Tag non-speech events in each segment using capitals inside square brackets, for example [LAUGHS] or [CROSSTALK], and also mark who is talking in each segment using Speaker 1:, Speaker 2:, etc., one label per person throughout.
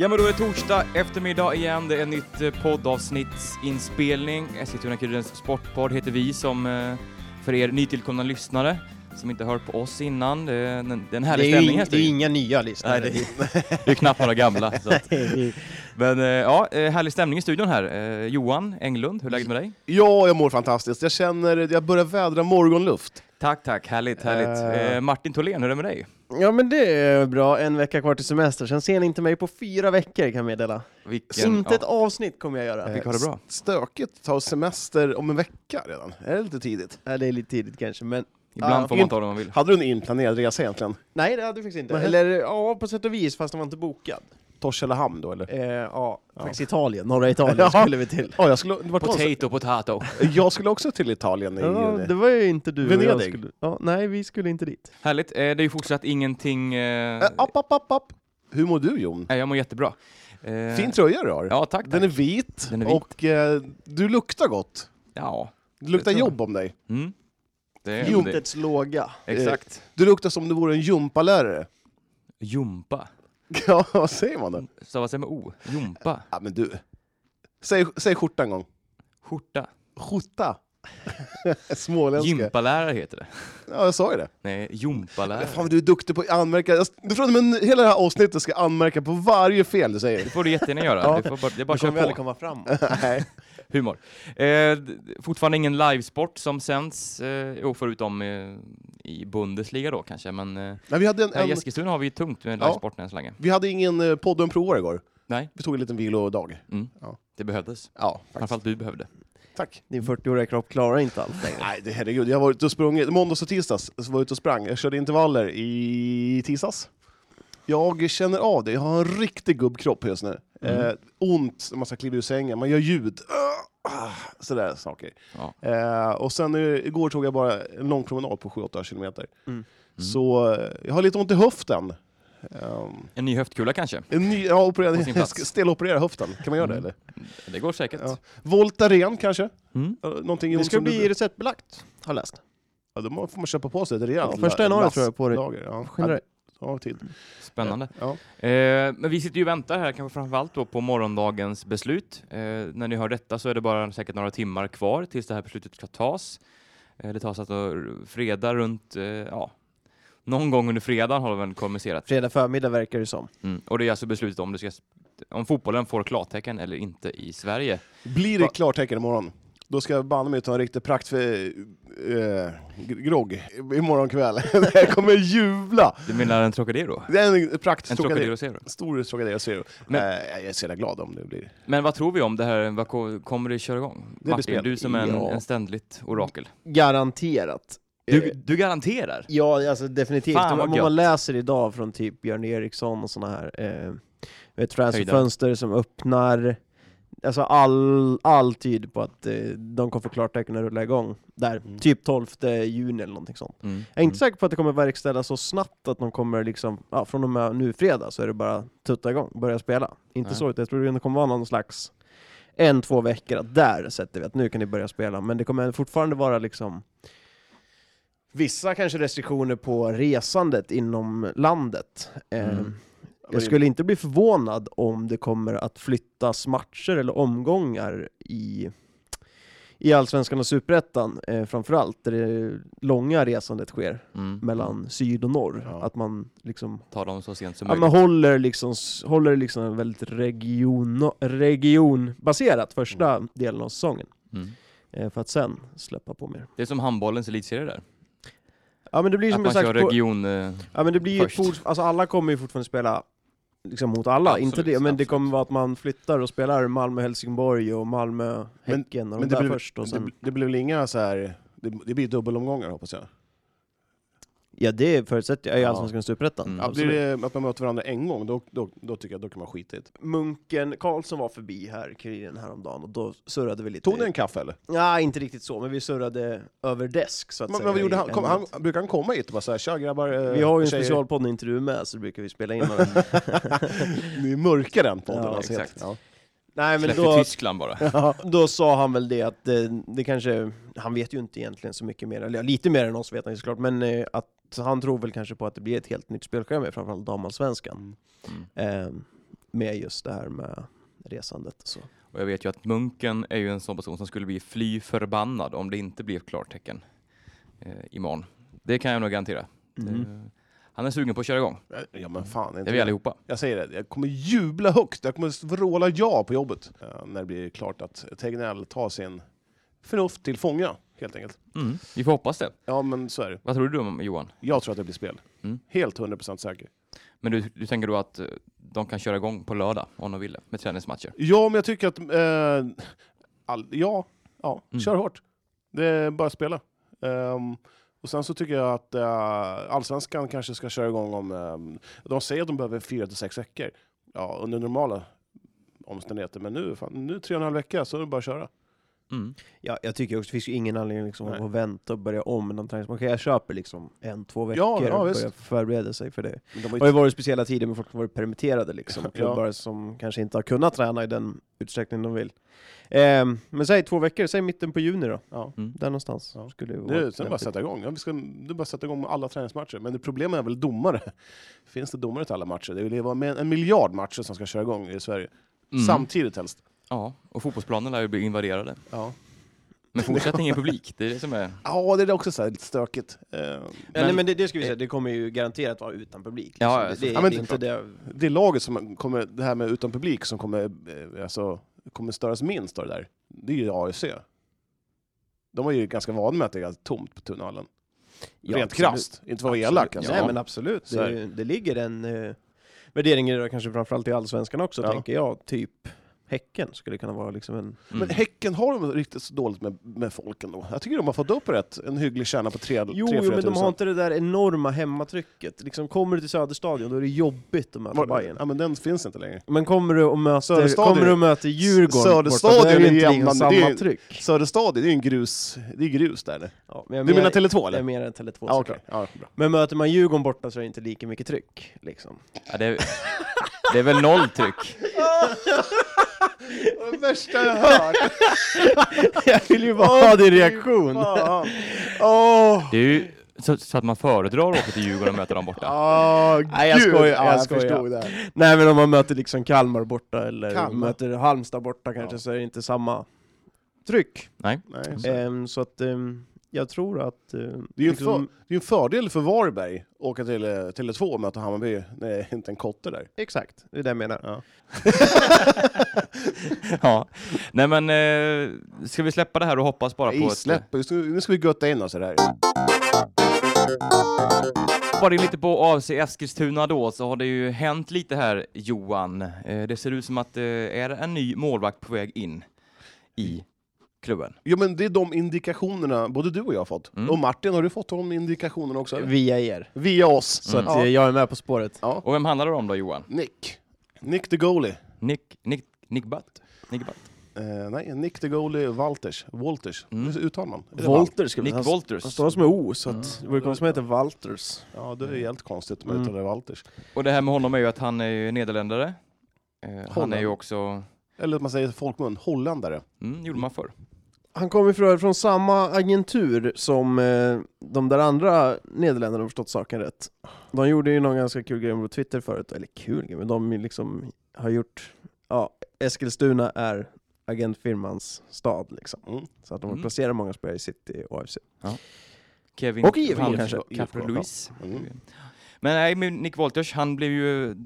Speaker 1: Ja men då är det torsdag eftermiddag igen, det är nytt eh, poddavsnittsinspelning. Eskilstuna-Kurirens Sportpodd heter vi som eh, för er nytillkomna lyssnare som inte hört på oss innan. Det är en- det är en härlig
Speaker 2: Det är, ju,
Speaker 1: stämning
Speaker 2: ing-
Speaker 1: här
Speaker 2: det är ju
Speaker 1: studion.
Speaker 2: inga nya lyssnare.
Speaker 1: Nej, [LAUGHS] Det är knappt några gamla. Så
Speaker 2: [LAUGHS]
Speaker 1: att. Men eh, ja, eh, härlig stämning i studion här. Eh, Johan Englund, hur är läget med dig?
Speaker 3: Ja, jag mår fantastiskt. Jag känner, jag börjar vädra morgonluft.
Speaker 1: Tack, tack. Härligt, härligt.
Speaker 2: Eh.
Speaker 1: Eh, Martin Tholén, hur är det med dig?
Speaker 2: Ja men det är bra, en vecka kvar till semester, sen ser ni inte mig på fyra veckor kan jag meddela.
Speaker 1: Vilken,
Speaker 2: inte ett avsnitt kommer jag göra.
Speaker 1: ja, fick ha det bra.
Speaker 3: Stökigt, ta semester om en vecka redan. Är det lite tidigt?
Speaker 2: Ja, det är lite tidigt kanske, men
Speaker 1: Ibland
Speaker 2: Ja,
Speaker 1: får man
Speaker 3: in-
Speaker 1: ta det
Speaker 2: [LAUGHS]
Speaker 1: man vill.
Speaker 3: Hade du en inplanerad resa egentligen?
Speaker 2: nej det hade jag faktiskt inte.
Speaker 3: Nej.
Speaker 2: Eller ja, på sätt och vis, fast den var inte bokad.
Speaker 3: Torshällahamn då eller?
Speaker 2: Eh, ja, faktiskt Italien, norra [LAUGHS] Italien
Speaker 3: Ja.
Speaker 2: skulle vi till.
Speaker 3: Ja, jag skulle, det var konstigt.
Speaker 1: Potato, potato.
Speaker 3: Jag skulle också till Italien i...
Speaker 2: Ja, det var ju inte du och jag
Speaker 3: Venedig.
Speaker 2: skulle... Ja, nej, vi skulle inte dit.
Speaker 1: Härligt. Eh, det är ju fortsatt ingenting... Eh,
Speaker 3: Eh, App, app, app, app. Hur mår du Jon?
Speaker 1: nej, jag mår jättebra. Eh,
Speaker 3: Fin tröja du har.
Speaker 1: Ja, tack. tack.
Speaker 3: Den är vit,
Speaker 1: Den är vit.
Speaker 3: och eh, du luktar gott.
Speaker 1: Ja.
Speaker 3: Du luktar
Speaker 1: tror jag.
Speaker 3: jobb om dig.
Speaker 1: Mm. Det är
Speaker 3: Jo,
Speaker 1: det.
Speaker 2: Juntets låga.
Speaker 3: eh,
Speaker 1: Exakt.
Speaker 3: Du luktar som om du vore en gympalärare. [LAUGHS]
Speaker 1: Jumpa.
Speaker 3: Ja, vad säger man då?
Speaker 1: Stavas det med O? Jumpa.
Speaker 3: Ja, men du. Säg, säg skjorta en gång.
Speaker 1: Skjorta.
Speaker 3: Skjorta. [LAUGHS] Småländska.
Speaker 1: Gympalärare heter det.
Speaker 3: Ja, jag sa ju det.
Speaker 1: Nej,
Speaker 3: Men
Speaker 1: jumpalärare.
Speaker 3: Fan, du är duktig på att anmärka. Jag- Du tror att men hela det här avsnittet ska anmärka på varje fel du säger.
Speaker 1: Det får du jättegärna göra.
Speaker 2: Ja.
Speaker 1: Du får bara, det är bara
Speaker 2: Nu kommer vi
Speaker 1: kör
Speaker 2: aldrig
Speaker 1: på.
Speaker 2: komma fram. [LAUGHS]
Speaker 3: Nej.
Speaker 1: Humor. Eh, d- fortfarande ingen livesport som sänds, eh, jo, förutom eh, i Bundesliga då kanske, men eh,
Speaker 3: Nej, vi, hade en,
Speaker 1: här i
Speaker 3: en,
Speaker 1: Eskilstuna har vi ju tungt med
Speaker 3: Ja.
Speaker 1: livesporten än så länge.
Speaker 3: vi hade ingen eh, podd och en provare igår.
Speaker 1: Nej.
Speaker 3: Vi tog en liten vilodag.
Speaker 1: Mm.
Speaker 3: Ja.
Speaker 1: Det behövdes.
Speaker 3: Ja, faktiskt.
Speaker 1: Framförallt du behövde. Mm.
Speaker 3: Tack.
Speaker 2: Din 40-åriga kropp klarar inte allt längre.
Speaker 3: Nej, det, herregud. Jag var ute och sprungit. Måndags och tisdags så var jag ute och sprang. Jag körde intervaller i tisdags. Jag känner av det. Jag har en riktig gubbkropp just nu.
Speaker 1: Mm.
Speaker 3: Eh, ont när man ska kliva ur sängen. Man gör ljud. Ah, ah, Sådär saker.
Speaker 1: Ja.
Speaker 3: Eh, och sen eh, igår tog jag bara en lång promenad på 7-8 kilometer.
Speaker 2: Mm.
Speaker 3: Så eh, jag har lite ont i höften. Ehm,
Speaker 1: En ny höftkula kanske?
Speaker 3: en ny, jag
Speaker 1: På sin
Speaker 3: opererade,
Speaker 1: plats.
Speaker 3: [LAUGHS] steloperera höften. Kan man göra
Speaker 1: Mm.
Speaker 3: det eller?
Speaker 1: Det går säkert.
Speaker 3: Ja. Voltaren kanske?
Speaker 1: Mm.
Speaker 3: Eh, Någonting
Speaker 2: [LAUGHS] Det
Speaker 3: Jon,
Speaker 2: ska
Speaker 3: som
Speaker 2: bli
Speaker 3: Du...
Speaker 2: receptbelagt, har jag läst.
Speaker 3: Ja, då må- får man köpa på sig ett rejält
Speaker 2: Ja, första januari
Speaker 3: lass
Speaker 2: tror jag på det.
Speaker 3: Lager. Ja.
Speaker 2: Skynda dig.
Speaker 3: Ja, ja, tid.
Speaker 1: Spännande.
Speaker 3: Ja.
Speaker 1: Eh, men vi sitter ju och väntar här, kanske framförallt då på morgondagens beslut. Eh, när ni hör detta så är det bara säkert några timmar kvar tills det här beslutet ska tas. Eh, det tas alltså r- fredag runt, eh, ja, någon gång under fredagen har de väl kommunicerat.
Speaker 2: Fredag förmiddag verkar det som.
Speaker 1: Mm. Och det är alltså beslutet om, det ska, om fotbollen får klartecken eller inte i Sverige.
Speaker 3: Blir det klartecken imorgon, då ska jag banne mig ta en riktig prakt för eh, gr- grogg imorgon kväll. [LAUGHS] jag kommer jubla!
Speaker 1: Du menar en Trocadero?
Speaker 3: Det är en prakt
Speaker 1: En
Speaker 3: Trocadero.
Speaker 1: Trocadero ser du.
Speaker 3: Stor Trocadero Zero.
Speaker 1: Men-
Speaker 3: Eh, jag är så jävla glad om det blir.
Speaker 1: Men vad tror vi om det här? Vad ko- kommer det köra igång?
Speaker 3: blir
Speaker 1: Martin,
Speaker 3: spel.
Speaker 1: du som är en,
Speaker 2: Ja.
Speaker 1: en ständigt orakel.
Speaker 2: Garanterat.
Speaker 1: Du,
Speaker 2: Eh,
Speaker 1: du garanterar?
Speaker 2: Ja, alltså definitivt.
Speaker 1: Fan,
Speaker 2: Om-
Speaker 1: vad
Speaker 2: Om
Speaker 1: gött.
Speaker 2: man läser idag från typ Björn Eriksson och sådana här eh, vet, transferfönster som öppnar, alltså all, all tid på att eh, de kommer få klartecken att rulla igång där,
Speaker 3: Mm.
Speaker 2: typ 12 juni eller någonting sånt.
Speaker 1: Mm.
Speaker 2: Jag är inte
Speaker 1: Mm.
Speaker 2: säker på att det kommer verkställas så snabbt att de kommer liksom, ja, från och med nu fredag så är det bara tutta igång, börja spela. Inte
Speaker 1: Nej.
Speaker 2: så, utan jag tror det kommer vara någon slags en, två veckor, att där sätter vi att nu kan ni börja spela. Men det kommer fortfarande vara liksom vissa kanske restriktioner på resandet inom landet. Eh,
Speaker 1: Mm.
Speaker 2: Jag skulle inte bli förvånad om det kommer att flyttas matcher eller omgångar i, i Allsvenskan och Superettan eh, framförallt, där det långa resandet sker
Speaker 1: Mm.
Speaker 2: mellan syd och norr.
Speaker 3: Ja.
Speaker 2: Att man liksom,
Speaker 1: Ta dem så sent som
Speaker 2: ja,
Speaker 1: möjligt.
Speaker 2: man håller liksom, s- håller liksom väldigt region, regionbaserat första delen av säsongen.
Speaker 1: Mm.
Speaker 2: eh, För att sen släppa på mer.
Speaker 1: Det är som handbollens elitserie där.
Speaker 2: Ja men det blir
Speaker 1: Att
Speaker 2: som
Speaker 1: man
Speaker 2: en
Speaker 1: kör
Speaker 2: slags... po-
Speaker 1: region... eh,
Speaker 2: Ja men det blir ju ett
Speaker 1: först.
Speaker 2: forts- alltså alla kommer ju fortfarande spela liksom mot alla,
Speaker 1: Absolut,
Speaker 2: inte det, men det
Speaker 1: absolut.
Speaker 2: kommer vara att man flyttar och spelar Malmö-Helsingborg och Malmö-Häcken och
Speaker 3: men
Speaker 2: de där
Speaker 3: det blir-
Speaker 2: först och sen...
Speaker 3: Det, det blir väl inga så här... Det, det blir dubbelomgångar hoppas jag.
Speaker 2: ja det förutsätter jag, i
Speaker 3: Ja.
Speaker 2: Allsvenskan och Superettan.
Speaker 1: Mm.
Speaker 3: Ja, blir det att man möter varandra en gång, då, då, då tycker jag då kan man skita i det.
Speaker 2: Munken Karlsson var förbi här, Kuriren häromdagen, och då surrade vi lite.
Speaker 3: Tog ni en kaffe eller?
Speaker 2: Nej, inte riktigt så, men vi surrade över desk så att
Speaker 3: Men,
Speaker 2: säga.
Speaker 3: men vad gjorde
Speaker 2: i
Speaker 3: han? Kom,
Speaker 2: ämnet.
Speaker 3: han? Brukar han komma hit och bara såhär, tja grabbar, eh,
Speaker 2: vi har ju en
Speaker 3: tjejer."
Speaker 2: specialpodd när [LAUGHS] inte du är med, så brukar vi spela in
Speaker 3: Ni mörkar den podden
Speaker 2: Ja,
Speaker 3: alltså. helt.
Speaker 1: exakt.
Speaker 3: Ja.
Speaker 2: Nej men
Speaker 1: Släppt
Speaker 2: då,
Speaker 1: i Tyskland bara.
Speaker 3: Ja.
Speaker 2: [LAUGHS] då sa han väl det att eh, det kanske, han vet ju inte egentligen så mycket mer, eller ja, lite mer än oss vet han ju såklart, men eh, att han tror väl kanske på att det blir ett helt nytt spelschema, framförallt damallsvenskan,
Speaker 1: Mm.
Speaker 2: eh, med just det här med resandet och så.
Speaker 1: Och jag vet ju att Munken är ju en sån person som skulle bli fly förbannad om det inte blev klartecken eh, imorgon. Det kan jag nog garantera.
Speaker 2: Mhm.
Speaker 3: Mm.
Speaker 1: Det, han är sugen på att köra igång.
Speaker 3: ja men fan.
Speaker 1: Det
Speaker 3: Inte
Speaker 1: är vi allihopa.
Speaker 3: Jag säger det, jag kommer jubla högt. Jag kommer vråla ja på jobbet. eh, När det blir klart att Tegnell tar sin förnuft till fånga, helt enkelt.
Speaker 1: Mm. Vi får hoppas det.
Speaker 3: Ja men så är det.
Speaker 1: Vad tror du om Johan?
Speaker 3: Jag tror att det blir spel.
Speaker 1: Mm.
Speaker 3: Helt 100% säker.
Speaker 1: Men du, du tänker då att eh, de kan köra igång på lördag om de vill med träningsmatcher?
Speaker 3: Ja, men jag tycker att... Eh, all, ja, ja
Speaker 1: Mm.
Speaker 3: kör hårt. Det är bara att spela. Ehm, och sen så tycker jag att eh, allsvenskan kanske ska köra igång om... ehm, de säger att de behöver fyra till sex veckor. Ja, under normala omständigheter. Men nu, fan, nu tre och en halv vecka så är det bara att köra.
Speaker 1: Mm.
Speaker 2: Ja, jag tycker också, det finns ju ingen anledning liksom
Speaker 3: Nej.
Speaker 2: att vänta och börja om med någon träningsmatch. Jag köper liksom en, två veckor
Speaker 3: ja,
Speaker 2: och börja
Speaker 3: visst.
Speaker 2: förbereda sig för det.
Speaker 3: Men de
Speaker 2: Och
Speaker 3: har
Speaker 2: det
Speaker 3: ju
Speaker 2: har varit speciella tider med folk som varit permitterade liksom.
Speaker 3: [LAUGHS] Ja.
Speaker 2: Klubbar som kanske inte har kunnat träna i den utsträckning de vill. Ehm, men säg två veckor, säg mitten på juni då.
Speaker 3: Ja.
Speaker 1: Mm.
Speaker 2: Där någonstans.
Speaker 3: Ja.
Speaker 2: Skulle det typ vara
Speaker 3: Nu, sen är det bara
Speaker 2: lämpligt.
Speaker 3: att sätta igång. Ja, vi ska, det är bara att sätta igång med alla träningsmatcher. Men det problemet är väl domare. [LAUGHS] Finns det domare till alla matcher? Det är ju med en miljard matcher som ska köra igång i Sverige.
Speaker 1: Mm.
Speaker 3: Samtidigt helst.
Speaker 1: Ja, och fotbollsplanen lär ju bli invaderade.
Speaker 3: Ja.
Speaker 1: Men fortsätt ingen publik, det är det som är...
Speaker 3: Ja, det är också så här lite stökigt. Eh,
Speaker 2: Ja,
Speaker 1: Men-
Speaker 2: nej, men det, det ska vi säga, det kommer ju garanterat vara utan publik. Liksom.
Speaker 1: Ja, ja,
Speaker 2: det,
Speaker 1: så-
Speaker 2: det,
Speaker 3: ja,
Speaker 2: det
Speaker 3: men
Speaker 2: är inte
Speaker 3: det
Speaker 2: det.
Speaker 3: Det är laget som kommer, det här med utan publik, som kommer, eh, alltså, kommer störas minst av det där. Det är ju AFC. De är ju ganska vana med att det är ganska tomt på tunneln.
Speaker 2: Ja,
Speaker 3: Rent
Speaker 2: absolut.
Speaker 3: krasst, inte för att vara elak.
Speaker 2: Absolut.
Speaker 3: Alltså.
Speaker 2: Nej men absolut,
Speaker 3: Så är
Speaker 2: det, det ligger en eh, värdering i det där, kanske framförallt i Allsvenskan också
Speaker 3: Ja.
Speaker 2: tänker jag, typ Häcken skulle kunna vara liksom en...
Speaker 1: Mm.
Speaker 3: Men Häcken har de riktigt så dåligt med, med folk ändå. Jag tycker de har fått upp rätt, en hygglig kärna på 3
Speaker 2: Jo, jo men de har inte det där enorma hemmatrycket. Liksom, kommer du till Söderstadion då är det jobbigt att möta Bayern.
Speaker 3: Ja men den finns inte längre.
Speaker 2: Men kommer du och möter,
Speaker 3: Söderstadion-
Speaker 2: kommer du och möter Djurgården
Speaker 3: Söderstadion
Speaker 2: borta, då är det
Speaker 3: är
Speaker 2: ju inte
Speaker 3: jämna,
Speaker 2: liksom
Speaker 3: men det är
Speaker 2: samma
Speaker 3: ju-
Speaker 2: tryck.
Speaker 3: Söderstadion, det är ju en grus, det är grus där. eller?
Speaker 2: Ja, men jag
Speaker 3: Du menar Tele2
Speaker 2: jag
Speaker 3: eller?
Speaker 2: menar Tele2
Speaker 3: Ja,
Speaker 2: såklart.
Speaker 3: okej. Ja,
Speaker 2: [LAUGHS]
Speaker 3: bra.
Speaker 2: Men möter man Djurgården borta så är det inte lika mycket tryck. [LAUGHS] Liksom.
Speaker 1: Ja, det, är, det är väl noll tryck?
Speaker 3: Det värsta [LAUGHS] jag hört!
Speaker 2: jag vill ju bara ha din reaktion.
Speaker 3: Fan.
Speaker 2: Åh!
Speaker 1: Det är ju så, så att man föredrar att åka till Djurgården och möta dem borta.
Speaker 3: Ah,
Speaker 2: Nej, jag
Speaker 3: gud.
Speaker 2: skojar,
Speaker 3: Ja,
Speaker 2: jag
Speaker 3: jag
Speaker 2: skojar.
Speaker 3: förstod det. här.
Speaker 2: Nej men om man möter liksom Kalmar borta eller
Speaker 3: Kalmar.
Speaker 2: möter Halmstad borta kanske
Speaker 3: Ja.
Speaker 2: så är det inte samma tryck.
Speaker 3: Nej, så-
Speaker 2: Ehm, så att ehm, jag tror att... ehm,
Speaker 3: Det är ju en, för,
Speaker 2: liksom,
Speaker 3: det är en fördel för Varberg att åka till eh, Tele2 och möta Hammarby när det är inte är en kotte där.
Speaker 2: Exakt, det är det jag menar.
Speaker 3: Ja.
Speaker 1: Ja. Nej men, eh, ska vi släppa det här och hoppas bara på
Speaker 3: Nej, släpp! Nu ska- Nu ska vi götta in oss i det här.
Speaker 1: Bara in lite på AFC Eskilstuna då, så har det ju hänt lite här Johan. Eh, det ser ut som att eh, är det en ny målvakt på väg in i klubben.
Speaker 3: Jo men det är de indikationerna både du och jag har fått.
Speaker 1: Mm.
Speaker 3: Och Martin, har du fått de indikationerna också? eller?
Speaker 2: Via er.
Speaker 3: Via oss.
Speaker 2: Så
Speaker 1: Mm.
Speaker 2: att eh,
Speaker 3: ja.
Speaker 2: jag är med på spåret.
Speaker 1: Och vem handlar det om då Johan?
Speaker 3: Nick. Nick the goalie.
Speaker 1: Nick, Nick, Nick Butt? Nick Butt?
Speaker 3: Eh, nej, Nick the goalie Walters. Walters.
Speaker 1: Mm.
Speaker 3: Hur uttalar man? Är det Wal-
Speaker 2: Walter skulle
Speaker 1: Nick
Speaker 2: han,
Speaker 1: Wolters.
Speaker 2: han stavas med O, så att det vore konstigt om han heter Walters.
Speaker 3: Ja, det är helt konstigt om man
Speaker 2: Mm.
Speaker 3: uttalar det Walters.
Speaker 1: Och det här med honom är ju att han är ju nederländare. Eh, han
Speaker 3: Holland.
Speaker 1: är ju också,
Speaker 3: Eller att man säger i folkmun, holländare.
Speaker 1: mm, gjorde man förr.
Speaker 2: Han kommer ifrån från samma agentur som eh, de där andra Nederländerna har förstått saken rätt. De gjorde ju någon ganska kul grej på Twitter förut, eller kul grej, men de liksom har gjort, ja, Eskilstuna är agentfirmans stad liksom.
Speaker 3: Mm.
Speaker 2: Så att de
Speaker 1: Mm.
Speaker 2: placerar många spelare i City och AFC.
Speaker 1: Kevin
Speaker 2: Och IFK
Speaker 1: Van-
Speaker 2: kanske.
Speaker 1: Capri
Speaker 3: IFK,
Speaker 1: Louis.
Speaker 3: Mm.
Speaker 1: Men nej, men Nick Wolters, han blev ju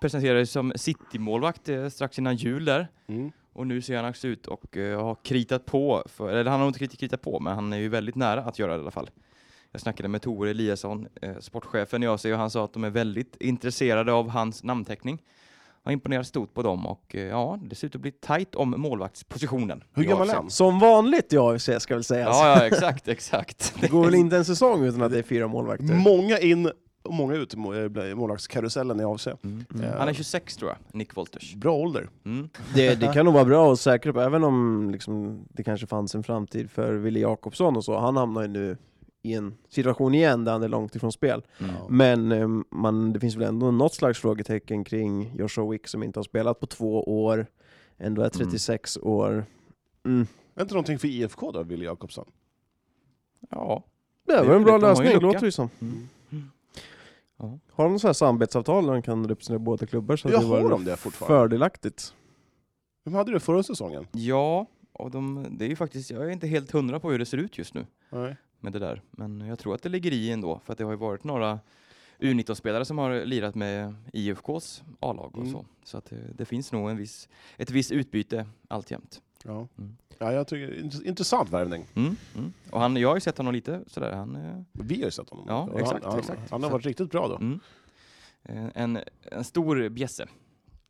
Speaker 1: presenterad som City-målvakt eh, strax innan jul där.
Speaker 3: Mm.
Speaker 1: Och nu ser han också ut och eh, har kritat på, för, eller han har inte krit- kritat på, men han är ju väldigt nära att göra det i alla fall. Jag snackade med Tore Eliasson, eh, sportchefen i AC, och han sa att de är väldigt intresserade av hans namnteckning. Han imponerar stort på dem och eh, ja, det ser ut att bli tajt om målvaktspositionen.
Speaker 3: Hur
Speaker 1: i
Speaker 3: gammal
Speaker 1: AFC.
Speaker 3: är han?
Speaker 2: Som vanligt i AFC ska väl sägas.
Speaker 1: Ja, ja, exakt, [LAUGHS] exakt.
Speaker 2: Det går väl inte en säsong utan att det är fyra målvakter.
Speaker 3: Många in och många ut i må- eh, målvaktskarusellen i AFC.
Speaker 1: Mm.
Speaker 3: Eh,
Speaker 1: Han är 26 tror jag, Nick Wolters.
Speaker 3: Bra ålder.
Speaker 1: Mm.
Speaker 2: Det, det kan nog vara bra att säkra på, även om liksom, det kanske fanns en framtid för Wille Jakobsson och så. Han hamnar ju nu i en situation igen där han är långt ifrån spel. Men eh, man, det finns väl ändå något slags frågetecken kring Joshua Wick som inte har spelat på två år. ändå är 36 år.
Speaker 3: Är inte någonting för IFK då, Wille Jakobsson?
Speaker 1: Ja.
Speaker 2: Det
Speaker 1: Det
Speaker 2: var
Speaker 1: är
Speaker 2: en bra
Speaker 1: lite- de har ju
Speaker 2: lösning, det
Speaker 1: lucka.
Speaker 2: låter ju som.
Speaker 1: Mm. Ja.
Speaker 2: Har de så här samarbetsavtal där de kan representera båda klubbar så
Speaker 3: Ja,
Speaker 2: hade
Speaker 3: har
Speaker 2: det
Speaker 3: de
Speaker 2: varit
Speaker 3: det fortfarande?
Speaker 2: fördelaktigt.
Speaker 3: Vem hade det förra säsongen?
Speaker 1: Ja, och de, det är ju faktiskt, jag är inte helt hundra på hur det ser ut just nu
Speaker 3: Nej.
Speaker 1: med det där. Men jag tror att det ligger i ändå, för att det har ju varit några U19-spelare som har lirat med IFKs A-lag och
Speaker 3: Mm.
Speaker 1: så. Så att eh, det, det finns nog en viss, ett visst utbyte alltjämt.
Speaker 3: Ja.
Speaker 1: Mm.
Speaker 3: ja, jag tycker int- intressant värvning.
Speaker 1: Mm, mm. Och han, jag har ju sett honom lite sådär, han är
Speaker 3: Vi har ju sett honom.
Speaker 1: Ja,
Speaker 3: Och
Speaker 1: exakt,
Speaker 3: han, han,
Speaker 1: exakt.
Speaker 3: han har varit riktigt bra då.
Speaker 1: mm, Eh, en, en stor bjässe.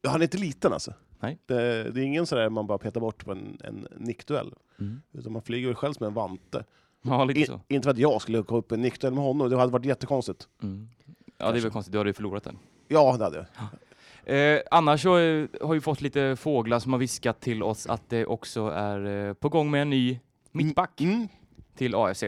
Speaker 3: Ja, Han är inte liten alltså.
Speaker 1: Nej.
Speaker 3: Det, det är ingen sådär man bara petar bort på en, en nickduell.
Speaker 1: Mm.
Speaker 3: Utan man flyger väl själv som en vante.
Speaker 1: Ja, lite
Speaker 3: I,
Speaker 1: så.
Speaker 3: inte för att jag skulle gå upp i en nickduell med honom, det hade varit jättekonstigt.
Speaker 1: Mm. Ja, det är väl konstigt, du hade ju förlorat den.
Speaker 3: Ja, det hade jag.
Speaker 1: Eh, annars så eh, har vi fått lite fåglar som har viskat till oss att det också är eh, på gång med en ny mittback
Speaker 3: Mm.
Speaker 1: till AFC.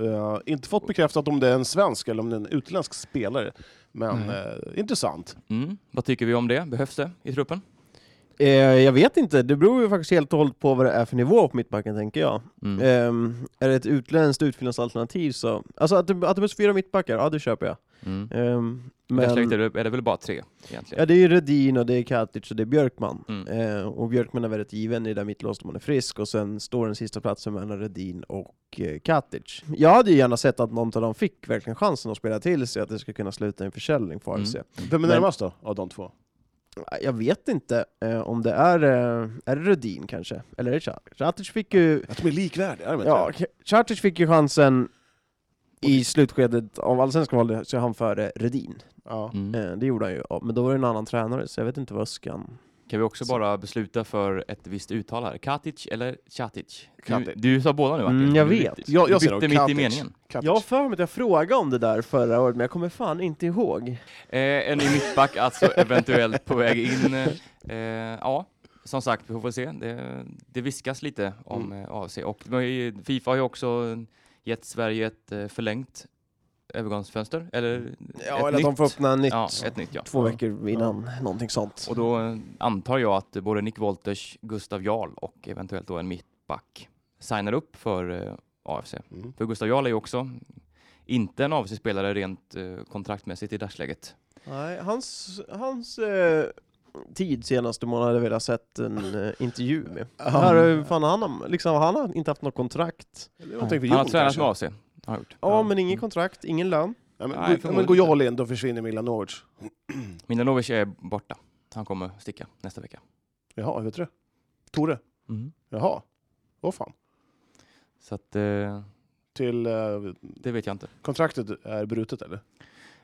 Speaker 3: Eh, inte fått bekräftat om det är en svensk eller om det är en utländsk spelare. Men eh, intressant.
Speaker 1: Mm. Vad tycker vi om det? Behövs det i truppen?
Speaker 2: Eh, jag vet inte, det beror ju faktiskt helt och hållet på vad det är för nivå på mittbacken tänker jag.
Speaker 1: Mm.
Speaker 2: Ehm, är det ett utländskt utfyllnadsalternativ så... Alltså att det, att det behövs fyra mittbackar, ja det köper jag.
Speaker 1: Mm.
Speaker 2: Ehm,
Speaker 1: I dagsläget
Speaker 2: men...
Speaker 1: är, det, är det väl bara tre egentligen?
Speaker 2: Ja det är ju Redin och det är Katic och det är Björkman.
Speaker 1: Mm.
Speaker 2: Ehm, och Björkman är väldigt given i det där mittlåset om han är frisk, och sen står den sista platsen mellan Redin och eh, Katic. Jag hade ju gärna sett att någon av dem fick verkligen chansen att spela till sig, att det skulle kunna sluta i en försäljning
Speaker 1: Mm.
Speaker 2: för AFC.
Speaker 3: Vem är
Speaker 2: Men-
Speaker 3: närmast då, av de två?
Speaker 2: Jag vet inte eh, om det är... Eh, är det Redin kanske? Eller är det Katic? Katic fick ju...
Speaker 3: Att de är likvärdiga, är de inte?
Speaker 2: Ja, Charters fick ju chansen i slutskedet av allsvenskan valde så han före Redin.
Speaker 3: Ja.
Speaker 1: Mm.
Speaker 2: Eh, Det gjorde han ju, ja, men då var det en annan tränare så jag vet inte vad Öskan...
Speaker 1: Kan vi också bara besluta för ett visst uttal här? Katic eller Chatic? Du,
Speaker 3: Katic.
Speaker 1: du sa båda nu Martin.
Speaker 2: Mm, jag
Speaker 1: Du
Speaker 2: vet.
Speaker 1: bytte-
Speaker 3: Jag, jag
Speaker 1: bytte
Speaker 3: ser nog
Speaker 1: mitt i
Speaker 3: Katic.
Speaker 1: meningen.
Speaker 3: Katic.
Speaker 2: Jag har för mig att jag frågade om det där förra året, men jag kommer fan inte ihåg.
Speaker 1: Eh, en ny mittback alltså eventuellt på väg in. Eh, Eh, ja, som sagt, vi får se. Det, det viskas lite om
Speaker 3: Mm.
Speaker 1: eh, AFC och de har ju- Fifa har ju också gett Sverige ett eh, förlängt övergångsfönster. Eller ett
Speaker 2: Ja, eller att
Speaker 1: nytt.
Speaker 2: de får öppna nytt
Speaker 1: Ja, ett nytt ja.
Speaker 2: två veckor innan, någonting sånt.
Speaker 1: Och då eh, antar jag att både Nick Wolters, Gustav Jarl och eventuellt då en mittback signar upp för eh, AFC.
Speaker 3: Mm.
Speaker 1: För Gustav Jarl är ju också inte en AFC-spelare rent eh, kontraktmässigt i dagsläget.
Speaker 2: Nej, hans, hans eh, tid senaste månaden hade jag velat sett en eh, intervju med. Här, har- fan, han, har, liksom, han har inte haft något kontrakt.
Speaker 3: Det var tänkt för
Speaker 1: Han har
Speaker 3: Jon,
Speaker 1: tränat
Speaker 3: kanske.
Speaker 1: med AFC. har han gjort.
Speaker 2: Ja,
Speaker 3: Ja.
Speaker 2: men ingen kontrakt, ingen lön.
Speaker 3: Ja,
Speaker 1: Nej,
Speaker 3: men, Nej, men
Speaker 1: förmodligen
Speaker 3: går jag in, då försvinner Milanovic.
Speaker 1: Milanovic är borta. Han kommer sticka nästa vecka.
Speaker 3: Jaha, vet du det? Tore?
Speaker 2: Mm.
Speaker 3: Jaha. Åh fan.
Speaker 1: Så att, eh,
Speaker 3: Till eh,
Speaker 1: det vet jag inte.
Speaker 3: kontraktet är brutet eller?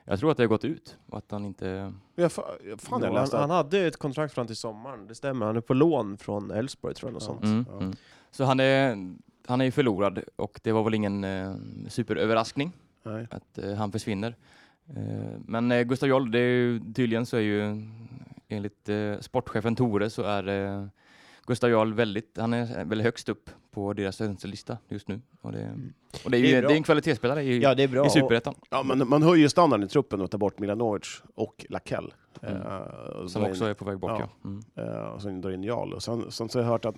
Speaker 1: Jag tror att det har gått ut och att han
Speaker 2: Mm.
Speaker 1: inte...
Speaker 3: Jag, fa- jag- fan, jag
Speaker 2: Ja, han,
Speaker 3: läste
Speaker 2: han
Speaker 3: att-
Speaker 2: hade ett kontrakt fram till sommaren, det stämmer. Han är på lån från Elfsborg tror jag. Och
Speaker 3: Ja.
Speaker 2: sånt.
Speaker 1: Mm,
Speaker 3: Ja.
Speaker 1: mm. Så han är, han är ju förlorad och det var väl ingen eh, superöverraskning
Speaker 3: Nej.
Speaker 1: att eh, han försvinner. Eh, men eh, Gustav Jarl, det är ju, tydligen så är ju enligt eh, sportchefen Tore så är eh, Gustav Jarl väldigt, han är väldigt högst upp på deras önskelista just nu. Och det, och det är ju
Speaker 2: Mm.
Speaker 1: det
Speaker 2: Det är
Speaker 1: är
Speaker 2: bra.
Speaker 1: en kvalitetsspelare i,
Speaker 2: det är bra.
Speaker 1: i superettan.
Speaker 3: Ja, men man höjer standarden i truppen och tar bort Milanovic och Lakell.
Speaker 1: Mm.
Speaker 3: Eh,
Speaker 1: Som
Speaker 3: drar
Speaker 1: också
Speaker 3: in,
Speaker 1: är på väg bort
Speaker 3: Ja.
Speaker 1: ja. Mm.
Speaker 3: eh, och sen drar in Jarl. Och sen, sen så har jag hört att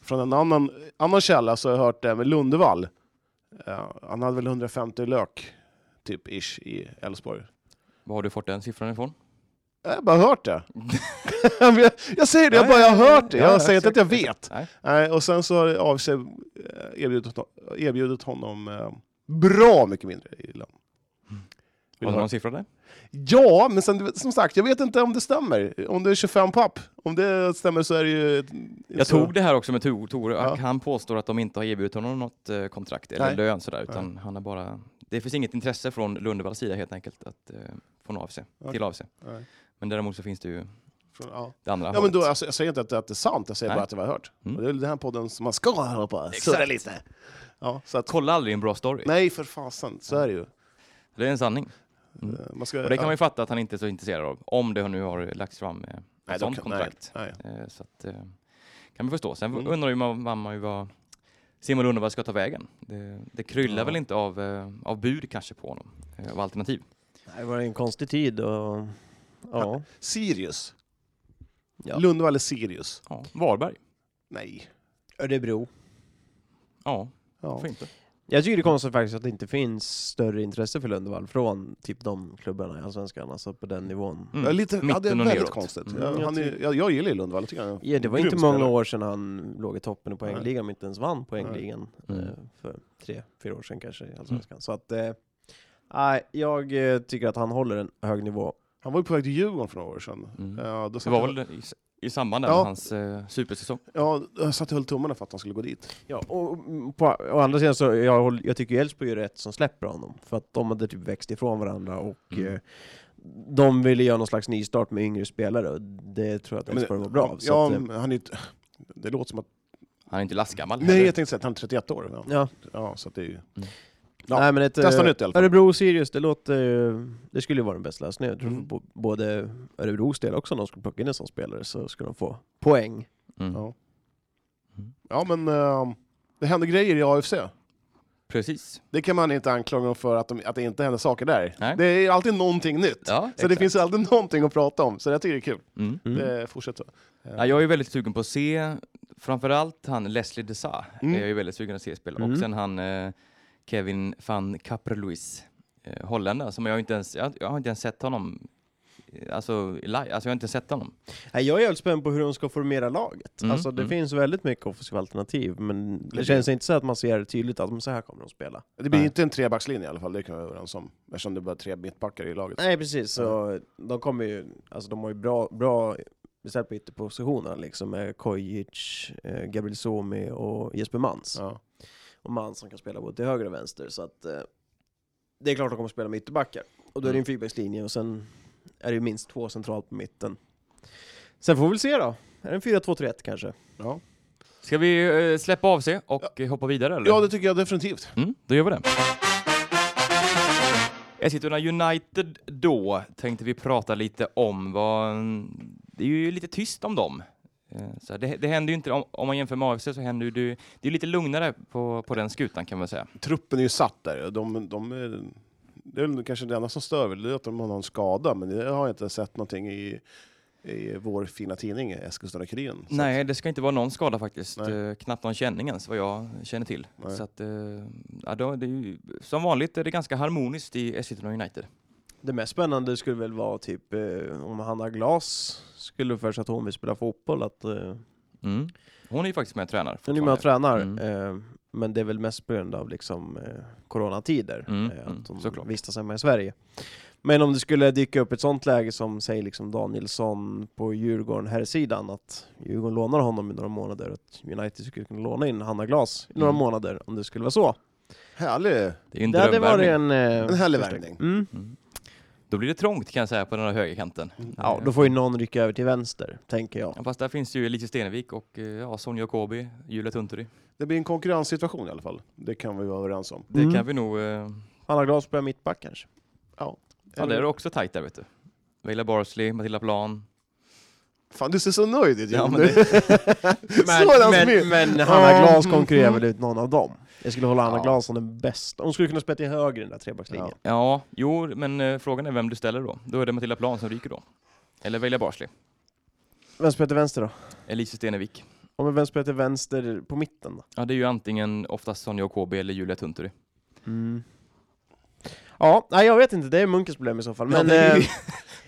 Speaker 3: från en annan, annan källa så har jag hört det med Lundevall. Eh, han hade väl 150 lök, typ ish, i Elfsborg.
Speaker 1: Var har du fått den siffran ifrån?
Speaker 3: Jag har bara hört det. [LAUGHS] jag, jag säger det, jag bara jag har hört det.
Speaker 1: Ja, ja,
Speaker 3: Jag säger inte att jag
Speaker 1: exakt,
Speaker 3: vet.
Speaker 1: Nej.
Speaker 3: Nej, och sen så har AFC eh, erbjudit, hon- erbjudit honom eh, bra mycket mindre i lön.
Speaker 1: Har du
Speaker 3: Vill du ha-
Speaker 1: någon siffra där?
Speaker 3: Ja, men sen, som sagt, jag vet inte om det stämmer. Om det är 25 papp. Om det stämmer så är det ju... ett-
Speaker 1: Jag
Speaker 3: så-
Speaker 1: tog det här också med Tor. Tor
Speaker 3: Ja.
Speaker 1: Han påstår att de inte har erbjudit honom något eh, kontrakt eller
Speaker 3: Nej.
Speaker 1: lön sådär, utan han har bara... Det finns inget intresse från Lundevalls sida helt enkelt att eh, från AFC,
Speaker 3: Okej.
Speaker 1: till AFC.
Speaker 3: Nej.
Speaker 1: Men däremot så finns det ju
Speaker 3: Från- Ja.
Speaker 1: det andra
Speaker 3: Ja, men
Speaker 1: hållet.
Speaker 3: då, alltså, jag säger inte att, att det är sant, jag säger
Speaker 1: Nej.
Speaker 3: bara att jag har hört.
Speaker 1: Mm.
Speaker 3: Och det är väl den här podden som man ska höra på. Surra lite. Ja, så att,
Speaker 1: Kolla aldrig en bra story.
Speaker 3: nej, för fasen. Så är det ju.
Speaker 1: Det är en sanning. Mm.
Speaker 3: Eh, Man ska,
Speaker 1: Och det kan man ju fatta att han inte är så intresserad av, om det nu har lagts fram eh,
Speaker 3: Nej,
Speaker 1: ett
Speaker 3: de
Speaker 1: sånt
Speaker 3: kan-
Speaker 1: kontrakt.
Speaker 3: Nej, nej.
Speaker 1: Eh, så att, eh, kan man förstå. Sen
Speaker 3: Mm.
Speaker 1: undrar ju man, man, man ju vad Simon Lundevall ska ta vägen. Det, det kryllar
Speaker 3: Ja.
Speaker 1: väl inte av, eh, av bud kanske på honom, eh, av alternativ.
Speaker 2: Det var en konstig tid och... Ja.
Speaker 3: Sirius.
Speaker 2: Ja.
Speaker 3: Lundvall är Sirius.
Speaker 1: Ja. Varberg.
Speaker 3: Nej.
Speaker 2: Örebro.
Speaker 1: Ja,
Speaker 3: Ja.
Speaker 1: varför inte?
Speaker 2: Jag tycker det är konstigt faktiskt att det inte finns större intresse för Lundvall från typ de klubbarna i Allsvenskan, alltså på den nivån.
Speaker 1: Mm.
Speaker 3: Ja, lite, ja, det är
Speaker 1: Mitten och
Speaker 3: väldigt
Speaker 1: neråt.
Speaker 3: konstigt.
Speaker 2: Mm,
Speaker 3: Ja,
Speaker 2: jag
Speaker 3: han är,
Speaker 2: tycker-
Speaker 3: jag, jag gillar ju Lundvall. Jag tycker han är en
Speaker 2: Ja, det var
Speaker 3: grym
Speaker 2: inte många
Speaker 3: spelare.
Speaker 2: år sedan han låg i toppen i poängligan, men inte ens vann poängligan
Speaker 1: Nej.
Speaker 2: eh, för tre, fyra år sedan kanske i Allsvenskan. Så att, eh, nej, jag eh, tycker att han håller en hög nivå.
Speaker 3: Han var ju på väg till Djurgården för några år sedan.
Speaker 1: Mm.
Speaker 3: Ja, då
Speaker 1: Det
Speaker 3: satt
Speaker 1: var
Speaker 3: jag-
Speaker 1: väl i, i samband där
Speaker 3: Ja.
Speaker 1: med hans eh, supersäsong.
Speaker 3: Ja, jag satt och höll tummarna för att han skulle gå dit.
Speaker 2: Ja, och mm, på, å andra sidan så, jag, håller- jag tycker ju Elfsborg gör rätt som släpper honom, för att de hade typ växt ifrån varandra och
Speaker 1: Mm.
Speaker 2: eh, de ville göra någon slags nystart med yngre spelare, och det tror jag att Elfsborg var bra av. Så
Speaker 3: ja, mm.
Speaker 2: att, eh,
Speaker 3: men han är ju inte... Det låter som att...
Speaker 1: Han är inte lastgammal
Speaker 3: Nej, jag tänkte säga att han är 31 år. Ja,
Speaker 2: ja.
Speaker 3: ja så att det är ju... Ja,
Speaker 2: Nej, men ett,
Speaker 3: Testa
Speaker 2: eh,
Speaker 3: nytt i alla fall.
Speaker 2: Örebro Sirius, det låter ju- Det skulle ju vara den bästa lösningen. Jag tror
Speaker 3: Mm.
Speaker 2: för bo- både Örebros del också, om de skulle plocka in en sån spelare så skulle de få poäng.
Speaker 1: Mm.
Speaker 3: Ja. Ja, men eh, det händer grejer i AFC.
Speaker 1: Precis.
Speaker 3: Det kan man inte anklaga dem för, att, de, att det inte händer saker där.
Speaker 1: Nej.
Speaker 3: Det är alltid någonting nytt.
Speaker 1: Ja,
Speaker 3: Så det
Speaker 1: exakt.
Speaker 3: finns alltid någonting att prata om, så jag tycker det är kul.
Speaker 1: Mm.
Speaker 2: Eh,
Speaker 3: Det fortsätter.
Speaker 1: Ja, jag är väldigt sugen på att se, framförallt han Leslie Desa
Speaker 3: Mm.
Speaker 1: är jag ju väldigt sugen att se spela.
Speaker 2: Mm.
Speaker 1: Och sen han eh, Kevin van Kaperluis, eh, holländare, som jag inte ens, jag, jag har inte ens sett honom, eh, alltså, i live. alltså jag har inte sett honom.
Speaker 2: Nej, Jag är jävligt spänd på hur de ska formera laget.
Speaker 1: Mm,
Speaker 2: Alltså, det
Speaker 1: mm.
Speaker 2: finns väldigt mycket offensiva alternativ, men det
Speaker 3: Lite.
Speaker 2: känns inte så att man ser tydligt att men så här kommer de spela.
Speaker 3: Det blir
Speaker 1: Nej.
Speaker 3: inte en trebackslinje i alla fall, det kan vi vara överens om. Eftersom det är bara tre mittbackar i laget.
Speaker 2: Nej precis, så de kommer ju, alltså de har ju bra, bra beställt på ytterpositionerna liksom med Kojic, eh, Gabriel Somi och Jesper Mans.
Speaker 3: Ja.
Speaker 2: och man som kan spela både till höger och vänster. Så att eh, det är klart att de kommer spela med ytterbackar. Och då är det en fyrbackslinje och sen är det ju minst två centralt på mitten. Sen får vi väl se då. Är det en 4-2-3-1 kanske?
Speaker 3: Ja.
Speaker 1: Mm. Ska vi eh, släppa av sig och eh, hoppa vidare eller?
Speaker 3: ja, det tycker jag definitivt.
Speaker 1: Mm, då gör vi det. Eskilstuna United då tänkte vi prata lite om vad... Det är ju lite tyst om dem. Eh, Så det, det händer ju inte, om, om man jämför med AFC så händer ju det, det är lite lugnare på, på den skutan kan man säga.
Speaker 3: Truppen är ju satt där. De, de är, det är väl kanske det enda som stör, väl, det är att de har någon skada, men jag har inte sett någonting i, i vår fina tidning Eskilstuna-Kuriren. Så
Speaker 1: Nej, det ska inte vara någon skada faktiskt.
Speaker 3: Nej.
Speaker 1: Eh, knappt någon känning ens vad jag känner till.
Speaker 3: Nej.
Speaker 1: Så att, eh, ja, då, det är ju, som vanligt är det ganska harmoniskt i Eskilstuna United.
Speaker 2: Det mest spännande skulle väl vara typ eh, om Hanna Glas skulle för sig att hon vill spela fotboll. Att, eh,
Speaker 1: Mm. Hon är ju faktiskt med och tränar.
Speaker 2: hon är ju med och
Speaker 1: fortfarande.
Speaker 2: tränar.
Speaker 1: Mm.
Speaker 2: Eh, men det är väl mest på grund av liksom, eh, coronatider.
Speaker 1: Mm,
Speaker 2: eh,
Speaker 1: mm,
Speaker 2: att hon
Speaker 1: såklart.
Speaker 2: vistas hemma i Sverige. Men om det skulle dyka upp ett sånt läge som säg liksom Danielsson på Djurgården här sidan att Djurgården lånar honom i några månader att United skulle kunna låna in Hanna Glas i några
Speaker 1: Mm.
Speaker 2: månader om det skulle vara så.
Speaker 3: Härlig!
Speaker 1: Det är ju en
Speaker 2: Det hade varit
Speaker 1: drömvärvning.
Speaker 2: en... Eh,
Speaker 3: En härlig
Speaker 2: förstärkning.
Speaker 3: värvning.
Speaker 2: Mm.
Speaker 1: Mm. Då blir det trångt kan jag säga på den här högerkanten.
Speaker 2: Ja, då får ju någon rycka över till vänster, tänker jag.
Speaker 1: Ja, fast där finns ju Elise Stenevik och eh, ja, Sonja Kobi, Julia Tunturi.
Speaker 3: Det blir en konkurrenssituation i alla fall. Det kan vi vara överens om.
Speaker 1: Det
Speaker 2: Mm.
Speaker 1: kan vi nog... Eh,
Speaker 2: Hanna Glas spelar mittback kanske.
Speaker 1: Mm. ja,
Speaker 3: Mm.
Speaker 1: det är också tajt där vet du. Vejla Barsley, Matilda Plan.
Speaker 3: Fan, du ser så nöjd ut
Speaker 1: Ja,
Speaker 3: Jon.
Speaker 1: men det,
Speaker 3: Sådan
Speaker 2: men,
Speaker 3: smitt.
Speaker 2: men, men eh, Hanna
Speaker 3: Ja,
Speaker 2: Glas
Speaker 3: mm,
Speaker 2: konkurrerar
Speaker 3: mm.
Speaker 2: väl ut någon av dem? Jag skulle hålla Hanna
Speaker 3: Ja.
Speaker 2: Glas som den bästa. Hon skulle kunna spela till höger i den där trebackslinjen.
Speaker 3: Ja.
Speaker 1: ja, jo, men eh, frågan är vem du ställer då. Då är det Matilda Plan som ryker då. Eller Vejla Barsley.
Speaker 2: Vem spelar till vänster då?
Speaker 1: Elise Stenevik.
Speaker 2: Ja, men vem spelar till vänster på mitten då?
Speaker 1: Ja, det är ju antingen oftast Sonja Kobi eller Julia Tunturi. Mm.
Speaker 2: Ja, nej jag vet inte, det är Munkens problem i så fall. Men
Speaker 1: ja, det, är,
Speaker 2: eh,
Speaker 1: ju-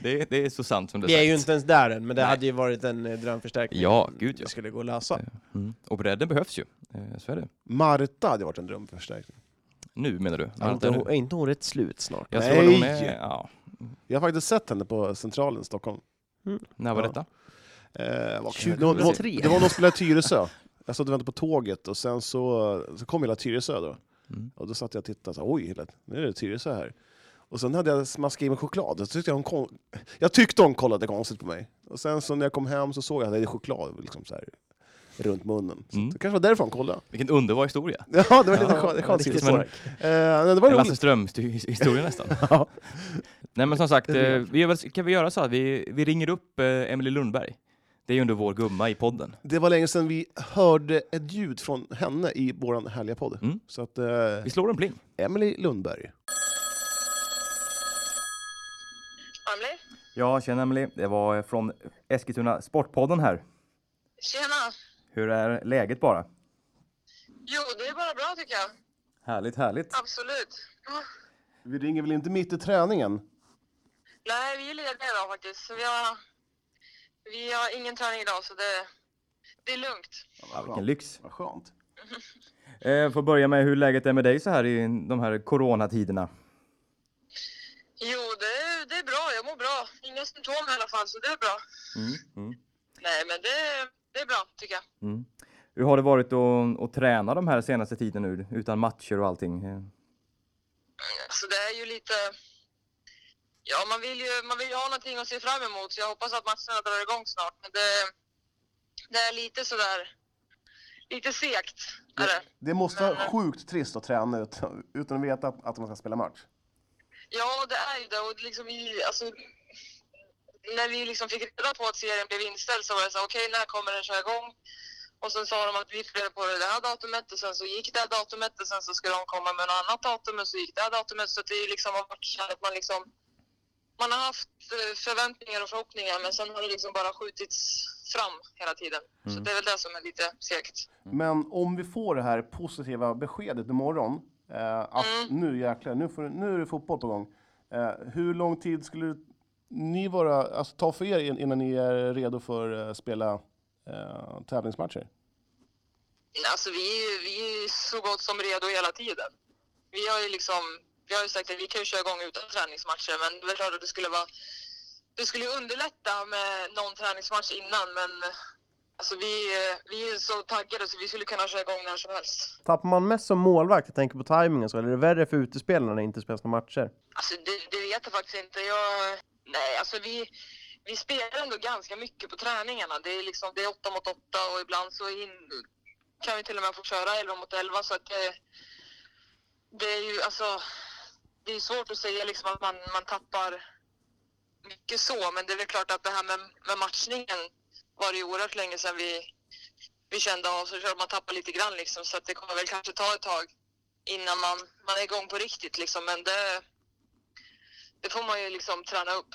Speaker 1: det, är, det är så sant som det
Speaker 2: vi är
Speaker 1: sagt.
Speaker 2: ju inte ens där än, men det
Speaker 1: Nej.
Speaker 2: hade ju varit en eh, drömförstärkning.
Speaker 1: Ja, gud ja.
Speaker 2: Det skulle gå att lösa.
Speaker 1: Mm. Och bredden behövs ju. Eh, så är det.
Speaker 3: Marta hade varit en drömförstärkning.
Speaker 1: Nu menar du?
Speaker 2: Är inte,
Speaker 1: nu.
Speaker 2: hon- är inte hon rätt slut snart?
Speaker 1: Jag tror att hon
Speaker 3: Nej.
Speaker 1: är... Ja.
Speaker 3: Jag har faktiskt sett henne på Centralen i Stockholm.
Speaker 1: När var
Speaker 3: Ja.
Speaker 1: detta?
Speaker 3: Eh, vad kul. Det var- det var-
Speaker 1: 2003.
Speaker 3: det var någon som spelade i Tyresö. Jag stod och väntade på tåget och sen så, så kom hela Tyresö då.
Speaker 1: Mm.
Speaker 3: Och då satt jag och tittade, så, här, oj, hela- nu är det Tyresö här. Och sen hade jag smaskat i mig choklad, så tyckte jag, hon kon- jag tyckte hon kollade konstigt på mig. Och sen så när jag kom hem så såg jag att jag hade choklad liksom så här, runt munnen. Så
Speaker 1: Mm.
Speaker 3: Det kanske var däriför hon kollade. [LAUGHS]
Speaker 1: Vilken underbar historia.
Speaker 3: Ja, det var lite
Speaker 1: Ja,
Speaker 3: skön- skönt
Speaker 1: riktigt
Speaker 3: sidospår.
Speaker 1: men-
Speaker 3: Eh, men Det var
Speaker 1: En Lasse
Speaker 3: roligt.
Speaker 1: Ström-historia [LAUGHS] nästan.
Speaker 2: Ja.
Speaker 1: Nej men som sagt, eh,
Speaker 2: Det är
Speaker 1: vi gör väl, kan vi göra så att vi, vi ringer upp eh, Emily Lundberg? Det är ju ändå vår gumma i podden.
Speaker 3: Det var länge sedan vi hörde ett ljud från henne i vår härliga podd.
Speaker 1: Mm.
Speaker 3: Så att, eh,
Speaker 1: Vi slår en pling.
Speaker 3: Emily Lundberg.
Speaker 4: Emily?
Speaker 1: Ja, tjena Emily. Det var eh, från Eskilstuna Sportpodden här.
Speaker 4: Tjena!
Speaker 1: Hur är läget bara?
Speaker 4: Jo, det är bara bra tycker jag.
Speaker 1: Härligt, härligt.
Speaker 4: Absolut. Ja.
Speaker 3: Vi ringer väl inte mitt i träningen?
Speaker 4: Nej, vi är lediga idag faktiskt. Så vi, har, vi har ingen träning idag så det, det är lugnt.
Speaker 1: Ja, vilken lyx.
Speaker 3: Vad skönt.
Speaker 1: Eh, får börja med hur läget är med dig så här i de här coronatiderna.
Speaker 4: Jo, det, det är bra. Jag mår bra. Inga symptom i alla fall så det är bra.
Speaker 1: mm.
Speaker 4: Nej, men det, det är bra tycker jag.
Speaker 1: Mm. Hur har det varit att, att träna de här senaste tiden nu utan matcher och allting? Eh,
Speaker 4: Så det är ju lite... Ja, man vill ju, man vill ju ha någonting att se fram emot så jag hoppas att matcherna drar igång snart. Men det, det är lite sådär... Lite segt är det.
Speaker 3: Det måste vara sjukt trist att träna utan, utan att veta att man ska spela match.
Speaker 4: Ja, det är ju det. Och liksom vi, alltså, när vi liksom fick reda på att serien blev inställd så var det så här, okej, när kommer den köra igång? Och sen sa de att vi får reda på det det här datumet och sen så gick det här datumet och sen så skulle de komma med något annat datum och så gick det här datumet. Så det är liksom har varit så här att man liksom, man har haft eh, förväntningar och förhoppningar men sen har det liksom bara skjutits fram hela tiden. Så det är väl det som är lite segt.
Speaker 3: Men om vi får det här positiva beskedet imorgon, eh, att nu jäklar, nu, får, nu är det fotboll på gång. Eh, hur lång tid skulle ni vara, alltså, ta för er in- innan ni är redo för att eh, spela eh, tävlingsmatcher?
Speaker 4: Alltså vi, vi är så gott som redo hela tiden. Vi har ju liksom, vi har ju sagt att vi kan ju köra igång utan träningsmatcher men det är klart att det skulle vara, det skulle ju underlätta med någon träningsmatch innan men alltså vi, vi är så taggade så vi skulle kunna köra igång när som helst.
Speaker 2: Tappar man mest som målvakt, jag tänker på tajmingen så, eller är det värre för utespelarna när det inte spelas några matcher?
Speaker 4: Alltså det, det vet jag faktiskt inte. Jag, nej alltså vi, vi spelar ändå ganska mycket på träningarna. Det är liksom, det är åtta mot åtta och ibland så in, kan vi till och med få köra elva mot elva så att det, det är ju alltså, det är svårt att säga liksom att man, man tappar mycket så men det är väl klart att det här med, med matchningen var det ju oerhört länge sedan vi, vi kände av så klart man tappar lite grann liksom så att det kommer väl kanske ta ett tag innan man, man är igång på riktigt liksom men det det får man ju liksom träna upp.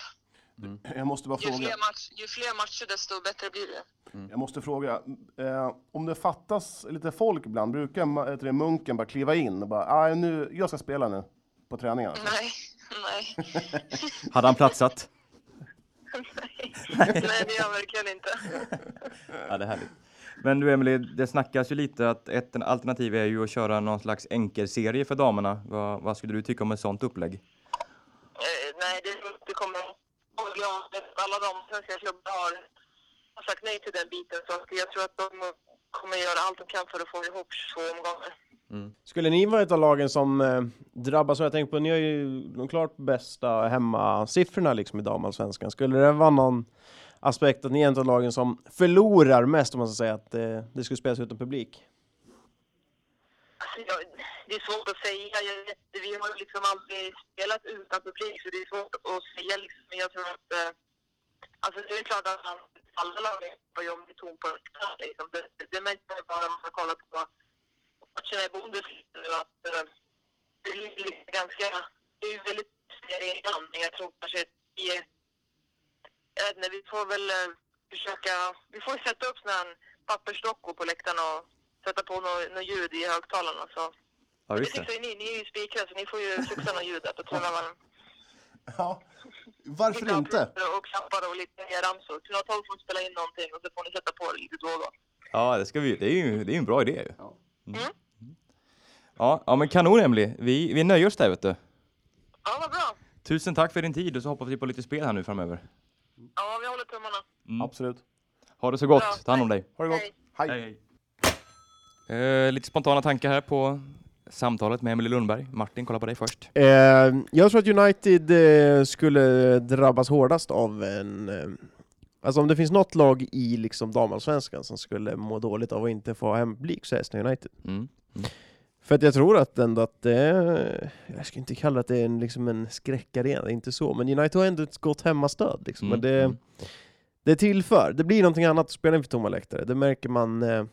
Speaker 3: Jag måste bara
Speaker 4: Ju
Speaker 3: fråga.
Speaker 4: fler, match, ju fler matcher desto bättre blir det.
Speaker 3: Jag måste fråga, eh, om det fattas lite folk ibland, brukar ma- heter det, munken bara kliva in och bara "Ah, nu, jag ska spela nu på träningarna?
Speaker 4: Nej, [LAUGHS] nej.
Speaker 1: Hade han platsat?
Speaker 4: nej, det gör jag verkligen inte.
Speaker 1: Ja, det är härligt. Men du Emily, det snackas ju lite att ett alternativ är ju att köra någon slags enkelserie för damerna. Vad, vad skulle du tycka om ett sånt upplägg?
Speaker 4: Eh, nej, det, det kommer kommer bli av. Alla de svenska klubbar har, har sagt nej till den biten så att jag tror att de kommer göra allt de kan för att få ihop två omgångar.
Speaker 2: Skulle ni vara ett av lagen som eh, drabbas? Jag tänker på, ni har ju de klart bästa hemmasiffrorna liksom i damallsvenskan. Skulle det vara någon aspekt att ni är ett av lagen som förlorar mest om man ska säga att eh, det skulle spelas utan publik?
Speaker 4: Alltså, jag, det är svårt att säga. Jag, vet- vi har ju liksom aldrig spelat utan publik så det är svårt att säga. Liksom. Men Jag tror att... Eh, alltså, det är klart att man- alla lag var ju om det tom på läktaren. Liksom. Det, det- det märker man ju bara om man har kollat på matcherna i Bundesliga nu att eh, det är liksom ganska... Det är ju väldigt redan, men jag tror kanske att vi... Jag vet inte, vi får väl eh, försöka... Vi får ju sätta upp såna här pappersdockor på läktaren och sätta på något nå ljud i högtalarna. Så.
Speaker 1: Ja,
Speaker 4: Det
Speaker 1: just det.
Speaker 4: fixar ju ni, ni är ju spikare så ni får ju fixa något ljud där på tunnelbanan.
Speaker 3: Ja. Varför inte?
Speaker 4: Och klappar och lite ramsor. Tunnelbanan får spela in någonting och så får ni sätta på det lite då och då.
Speaker 1: Ja, det, ska vi, det är ju det är ju en bra idé ju. Mm. Ja, ja, men kanon Emily. Vi, vi nöjer oss där vet du.
Speaker 4: Ja, vad bra.
Speaker 1: Tusen tack för din tid och så hoppas vi på lite spel här nu framöver. Mm.
Speaker 4: Ja, vi håller tummarna.
Speaker 3: Absolut.
Speaker 1: Ha det så
Speaker 4: Bra,
Speaker 1: gott. Ta hand om dig.
Speaker 3: Ha det gott.
Speaker 4: Hej.
Speaker 3: Hej.
Speaker 1: Eh, lite spontana tankar här på samtalet med Emily Lundberg. Martin, kolla på dig först.
Speaker 2: Eh, jag tror att United eh, skulle drabbas hårdast av en... Eh, alltså om det finns något lag i liksom damallsvenskan som skulle må dåligt av att inte få ha hempublik så är det United.
Speaker 1: Mm.
Speaker 2: För att jag tror att ändå att det är, Jag skulle inte kalla att det är en, liksom en skräckarena, det är inte så. Men United har ändå ett gott hemmastöd. Liksom.
Speaker 1: Mm,
Speaker 2: Men det,
Speaker 1: mm.
Speaker 2: det tillför. Det blir någonting annat att spela inför tomma läktare. Det märker man eh,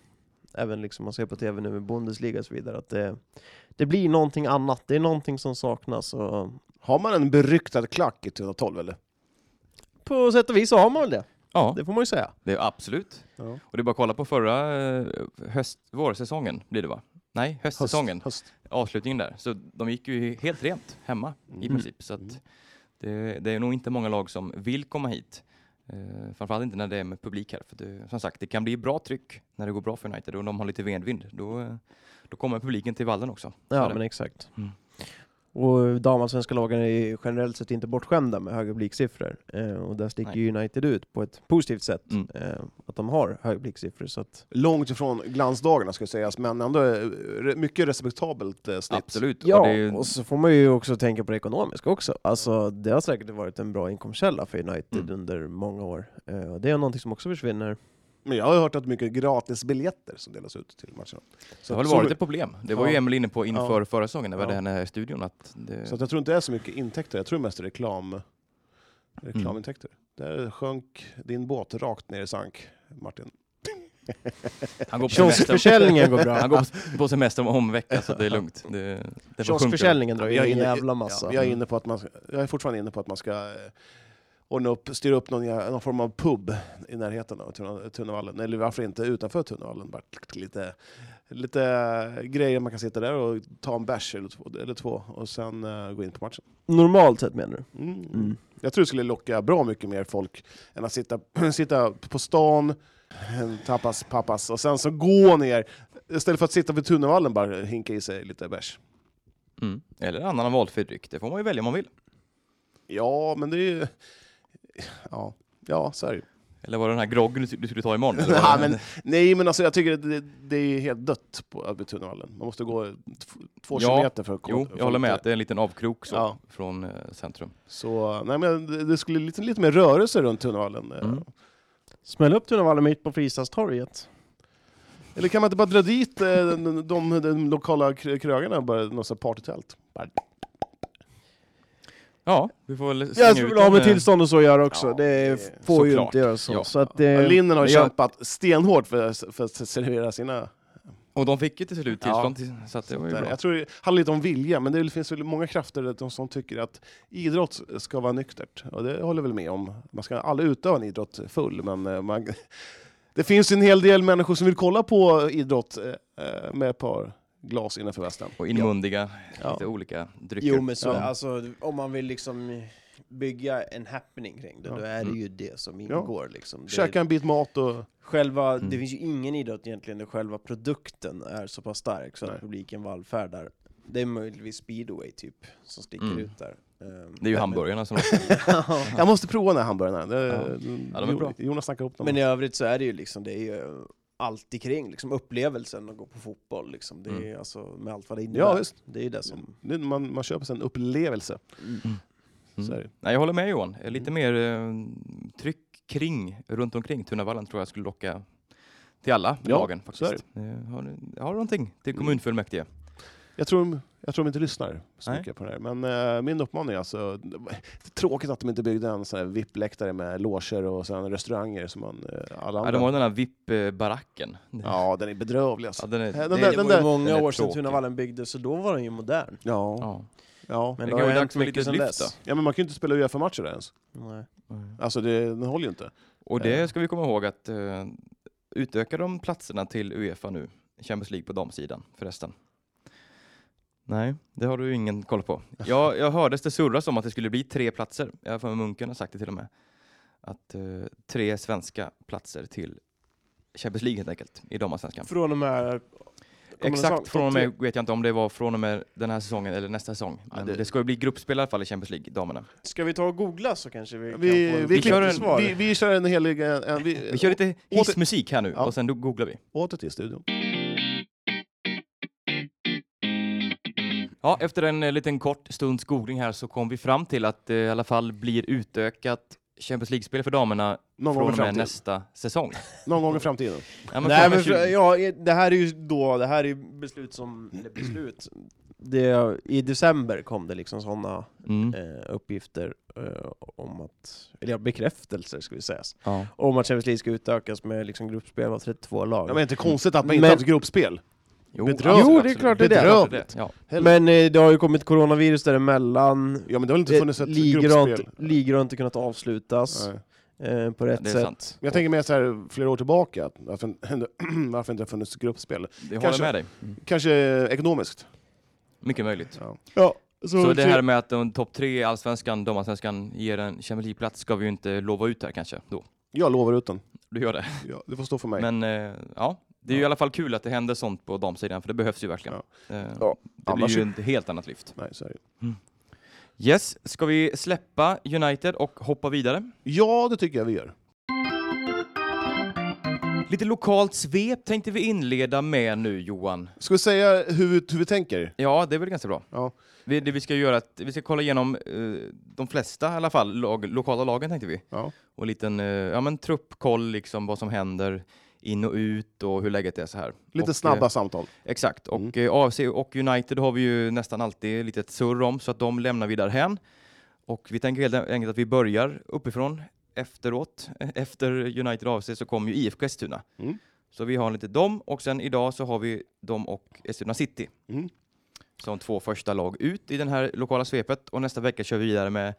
Speaker 2: även liksom man ser på tv nu med Bundesliga och så vidare. Att det, det blir någonting annat. Det är någonting som saknas. Och,
Speaker 3: Har man en beryktad klack i 2012 eller?
Speaker 2: på sätt och vis så har man väl det.
Speaker 1: Ja,
Speaker 2: Det får man ju säga.
Speaker 1: det är absolut.
Speaker 3: Ja.
Speaker 1: Och det är bara att kolla på förra eh, höst, vårsäsongen blir det va? Nej, höstsäsongen.
Speaker 3: Höst.
Speaker 1: Avslutningen där. Så de gick ju helt rent hemma i
Speaker 2: Mm.
Speaker 1: princip. Så att det, det är nog inte många lag som vill komma hit. Eh, framförallt inte när det är med publik här. För det, som sagt, det kan bli bra tryck när det går bra för United och de har lite medvind. Då, eh, då kommer publiken till vallen också. Så är
Speaker 2: Ja,
Speaker 1: det.
Speaker 2: men exakt.
Speaker 1: Mm.
Speaker 2: Och damallsvenska lagen är ju generellt sett inte bortskämda med höga publiksiffror. Eh, och där sticker
Speaker 1: Nej.
Speaker 2: ju United ut på ett positivt sätt.
Speaker 1: Mm.
Speaker 2: Eh, att de har höga publiksiffror. Så att,
Speaker 3: Långt ifrån glansdagarna ska sägas, men ändå eh, re- mycket respektabelt eh, snitt.
Speaker 1: Absolut.
Speaker 2: ja,
Speaker 1: Och det är ju-
Speaker 2: och så får man ju också tänka på det ekonomiska också. Alltså, det har säkert varit en bra inkomstkälla för United
Speaker 1: Mm.
Speaker 2: under många år. Eh, och det är någonting som också försvinner.
Speaker 3: Men jag har hört att mycket gratisbiljetter som delas ut till matcherna.
Speaker 1: Det
Speaker 3: Så,
Speaker 1: har väl
Speaker 3: så,
Speaker 1: varit ett problem. Det var ju
Speaker 3: Ja.
Speaker 1: Emil inne på inför förra säsongen när vi
Speaker 3: Ja.
Speaker 1: hade henne här i studion. Att det, Mm.
Speaker 3: så att jag tror inte det är så mycket intäkter, jag tror mest reklam, reklamintäkter. Där sjönk din båt rakt ner i sank, Martin.
Speaker 1: han, går på semester,
Speaker 2: Kioskförsäljningen går bra.
Speaker 1: han går på- på semester om- om en vecka så det är lugnt. Det, det får
Speaker 2: Kioskförsäljningen drar ju
Speaker 3: Jag är
Speaker 2: en
Speaker 3: inne-
Speaker 2: jävla massa.
Speaker 3: Ja, jag, är inne på att man, ska- jag är fortfarande inne på att man ska eh, ordna upp, styra upp någon, jä- någon form av pub i närheten av Tuna- Tunavallen. Eller varför inte utanför Tunavallen? Bara lite, lite grejer man kan sitta där och ta en bärs eller två, eller två och sen eh, gå in på matchen.
Speaker 2: Mm. Normalt sett menar du?
Speaker 3: Mm.
Speaker 2: Mm.
Speaker 3: Jag tror det skulle locka bra mycket mer folk än att sitta, [CLEARS THROAT] sitta på stan, [CLEARS THROAT] tappas, pappas och sen så gå ner. Istället för att sitta vid Tunavallen bara hinka i sig lite bärs.
Speaker 1: Mm. Eller annan valfri dryck. Det får man ju välja om man vill.
Speaker 3: Ja, men det är ju... Ja, ja så är det ju.
Speaker 1: Eller var det den här groggen du, du skulle ta imorgon? Eller
Speaker 3: [LAUGHS] Nej
Speaker 1: vad?
Speaker 3: men, nej, men alltså, jag tycker att det, det är helt dött på vid Tunavallen. Man måste gå tv- två
Speaker 1: Ja,
Speaker 3: kilometer för att komma
Speaker 1: Jo,
Speaker 3: för
Speaker 1: jag håller med
Speaker 3: att-
Speaker 1: att det är en liten avkrok så,
Speaker 3: Ja.
Speaker 1: från eh, centrum.
Speaker 3: Så, nej, men det, det skulle lite, lite mer rörelse runt Tunavallen. eh.
Speaker 1: Mm.
Speaker 2: Smäll upp Tunavallen mitt på Fristadstorget.
Speaker 3: Eller kan man inte bara dra dit eh, de, de, de lokala kr- krögarna och bara något sånt partytält? Bara-
Speaker 1: Ja, vi får väl slänga
Speaker 2: Jag
Speaker 1: ut
Speaker 2: skulle vilja ha
Speaker 1: en,
Speaker 2: med
Speaker 1: eh,
Speaker 2: tillstånd och så göra också.
Speaker 3: Ja,
Speaker 2: det
Speaker 3: det-
Speaker 2: får ju
Speaker 1: såklart.
Speaker 2: inte göra så.
Speaker 1: Ja.
Speaker 2: så att
Speaker 1: Eh,
Speaker 2: det,
Speaker 3: Linjen har
Speaker 2: men jag-
Speaker 3: kämpat stenhårt för, för att servera sina...
Speaker 1: Och de fick ju till slut tillstånd, till, så att det var ju
Speaker 3: Där.
Speaker 2: eh,
Speaker 1: bra.
Speaker 3: Eh, Jag tror det handlar lite om vilja, men det finns väl många krafter där de som tycker att idrott ska vara nyktert. Och det håller jag väl med om. Man ska aldrig utöva en idrott full, men eh, man, [LAUGHS] det finns ju en hel del människor som vill kolla på idrott eh, eh, med ett par glas innanför västen.
Speaker 1: Och inmundiga lite
Speaker 3: Ja.
Speaker 1: olika drycker.
Speaker 2: Jo men så,
Speaker 3: Ja.
Speaker 2: alltså, om man vill liksom bygga en happening kring det,
Speaker 3: Ja.
Speaker 2: då är det
Speaker 1: Mm.
Speaker 2: ju det som
Speaker 3: Ja.
Speaker 2: ingår. Liksom.
Speaker 3: Käka
Speaker 2: Det,
Speaker 3: en bit mat och...
Speaker 2: själva,
Speaker 1: Mm.
Speaker 2: det finns ju ingen idrott egentligen där själva produkten är så pass stark så
Speaker 3: Nej.
Speaker 2: att publiken vallfärdar. Det är möjligtvis speedway typ, som sticker
Speaker 1: Mm.
Speaker 2: ut där. Ehm,
Speaker 1: Det är ju
Speaker 2: men-
Speaker 1: hamburgarna som...
Speaker 3: Jag måste prova den här hamburgaren. Det,
Speaker 1: Ja, de är bra.
Speaker 3: Jonas snackade upp dem.
Speaker 2: Men i övrigt så är det ju liksom, det är ju allt i kring, liksom upplevelsen att gå på fotboll liksom. Det är
Speaker 1: Mm.
Speaker 2: alltså med allt vad det innebär.
Speaker 3: ja, visst.
Speaker 2: Det är ju det som...
Speaker 3: Nu, man, man köper sig en upplevelse. Så är
Speaker 1: Mm.
Speaker 3: det.
Speaker 1: Nej, jag håller med Johan. Eh,
Speaker 3: Mm.
Speaker 1: Lite mer eh, tryck kring, runt omkring Tunavallen tror jag skulle locka till alla
Speaker 3: Ja,
Speaker 1: lagen.
Speaker 3: så är Mm.
Speaker 1: faktiskt. Eh, Har, ni- har du någonting till kommunfullmäktige?
Speaker 3: Jag tror, de- jag tror de inte lyssnar så
Speaker 1: Nej.
Speaker 3: mycket på det här. Men eh, min uppmaning är alltså, det är tråkigt att de inte byggde en sån här VIP-läktare med loger och sen restauranger som man, eh, alla
Speaker 1: Ja,
Speaker 3: andra.
Speaker 1: de har den här VIP-baracken.
Speaker 3: Ja, den är bedrövlig alltså.
Speaker 1: Ja, den är,
Speaker 3: Den
Speaker 1: det är-
Speaker 3: där-
Speaker 2: Det
Speaker 3: den
Speaker 2: var ju
Speaker 1: den
Speaker 2: många
Speaker 1: är
Speaker 2: år sedan
Speaker 1: tråkig.
Speaker 2: Tunavallen byggdes, så då var den ju modern.
Speaker 3: Ja,
Speaker 1: Ja.
Speaker 3: ja.
Speaker 2: Men
Speaker 1: Det
Speaker 2: det
Speaker 1: kan
Speaker 2: har
Speaker 1: vara dags
Speaker 2: ju hänt
Speaker 1: för lite
Speaker 2: mycket sedan
Speaker 1: lyft
Speaker 2: dess.
Speaker 3: ja men man kan ju inte spela Uefa-matcher där ens.
Speaker 2: Nej.
Speaker 3: Alltså det, den håller ju inte.
Speaker 1: Och det ska vi komma ihåg att eh, utöka de platserna till Uefa nu, Champions League på damsidan förresten. Nej, det har du ju ingen koll på. [LAUGHS] Jag, jag hördes det surras om att det skulle bli tre platser. Jag har för mig Munken har sagt det till och med. Att eh, tre svenska platser till Champions League helt enkelt i damallsvenskan.
Speaker 2: Från de här... kommer det
Speaker 1: Exakt
Speaker 2: så-
Speaker 1: från och med vet jag inte om det var från och med den här säsongen eller nästa säsong.
Speaker 3: Ja,
Speaker 1: Men
Speaker 3: det-
Speaker 1: det... ska ju bli gruppspel i alla fall i Champions League, damerna.
Speaker 2: Ska vi ta och googla så kanske vi,
Speaker 3: Vi,
Speaker 2: kan få
Speaker 3: vi,
Speaker 2: vi
Speaker 1: klipper
Speaker 2: kör
Speaker 3: klipper-
Speaker 1: en-
Speaker 2: svar?
Speaker 3: vi, vi kör en helig... En, en, vi,
Speaker 1: Vi kör lite
Speaker 3: Eh, åter-
Speaker 1: hissmusik här nu
Speaker 3: Ja.
Speaker 1: och sen då googlar vi.
Speaker 3: Åter till studion.
Speaker 1: Ja, efter en eh, liten kort stunds googling här så kom vi fram till att det i alla fall blir utökat Champions League-spel för damerna
Speaker 3: Någon gång,
Speaker 1: från och
Speaker 3: i
Speaker 1: med
Speaker 3: framtiden.
Speaker 1: nästa säsong.
Speaker 3: Någon gång i framtiden.
Speaker 1: Ja, men
Speaker 2: Nej
Speaker 1: från och
Speaker 2: men
Speaker 1: med
Speaker 2: för,
Speaker 1: 20.
Speaker 2: ja, det här är ju då, det här är ju beslut som... Eller beslut. Det, I december kom det liksom sådana
Speaker 1: Mm.
Speaker 2: eh, uppgifter eh, om att... Eller ja, bekräftelser ska vi sägas.
Speaker 1: Ja.
Speaker 2: Om att Champions League ska utökas med liksom gruppspel av 32 lag.
Speaker 3: Ja, men inte konstigt att man inte
Speaker 2: Men-
Speaker 3: haft gruppspel.
Speaker 1: Jo,
Speaker 3: Bedrövligt.
Speaker 1: absolut,
Speaker 2: Jo, det är klart det är det.
Speaker 1: Bedrövligt.
Speaker 3: Bedrövligt.
Speaker 1: Ja.
Speaker 2: Men eh, det har ju kommit coronavirus däremellan.
Speaker 3: Ja, men det har väl inte funnits
Speaker 2: Det-
Speaker 3: ett
Speaker 2: Ligor har, inte,
Speaker 3: gruppspel?
Speaker 2: ligor har inte kunnat avslutas
Speaker 3: Nej.
Speaker 2: eh, på rätt
Speaker 1: Det är
Speaker 2: sätt.
Speaker 1: sant.
Speaker 3: Men jag tänker mer så här, flera år tillbaka, att varför, [CLEARS THROAT] varför inte har funnits gruppspel?
Speaker 1: Det håller
Speaker 3: Kanske-
Speaker 1: med dig.
Speaker 3: Kanske ekonomiskt.
Speaker 1: Mycket möjligt.
Speaker 3: Ja.
Speaker 2: Ja, typ-
Speaker 1: Så det här med att de topp tre i allsvenskan, damallsvenskan, ger en Champions League-plats ska vi ju inte lova ut här kanske. Då.
Speaker 3: Jag lovar utan.
Speaker 1: Du gör det.
Speaker 3: Ja, det får stå för mig.
Speaker 1: Men eh, ja, det är ju i alla fall kul att det händer sånt på damsidan, för det behövs ju verkligen. Eh,
Speaker 3: Ja,
Speaker 1: Det blir
Speaker 3: annars-
Speaker 1: ju ett helt annat lyft.
Speaker 3: Nej, så är det.
Speaker 1: Yes, ska vi släppa United och hoppa vidare?
Speaker 3: Ja, det tycker jag vi gör.
Speaker 1: Lite lokalt svep tänkte vi inleda med nu Johan.
Speaker 3: Ska vi säga hur, vi- hur vi tänker?
Speaker 1: Ja, det är väl ganska bra.
Speaker 3: Ja.
Speaker 1: Vi, det vi ska göra att vi ska kolla igenom eh, de flesta i alla fall, lag, lokala lagen tänkte vi.
Speaker 3: Ja.
Speaker 1: Och en liten eh, ja, men truppkoll, liksom vad som händer in och ut och hur läget är så här.
Speaker 3: Lite
Speaker 1: och,
Speaker 3: snabba
Speaker 1: Eh,
Speaker 3: samtal.
Speaker 1: exakt. Och eh, AFC och United har vi ju nästan alltid lite ett surr om, så att de lämnar vi därhän. Och vi tänker helt enkelt att vi börjar uppifrån efteråt. [LAUGHS] Eh, Efter United AFC så kommer ju IFK Eskilstuna.
Speaker 3: Mm.
Speaker 1: Så vi har lite dem och sen idag så har vi dem och Eskilstuna City
Speaker 3: Mm.
Speaker 1: som två första lag ut i den här lokala svepet och nästa vecka kör vi vidare med,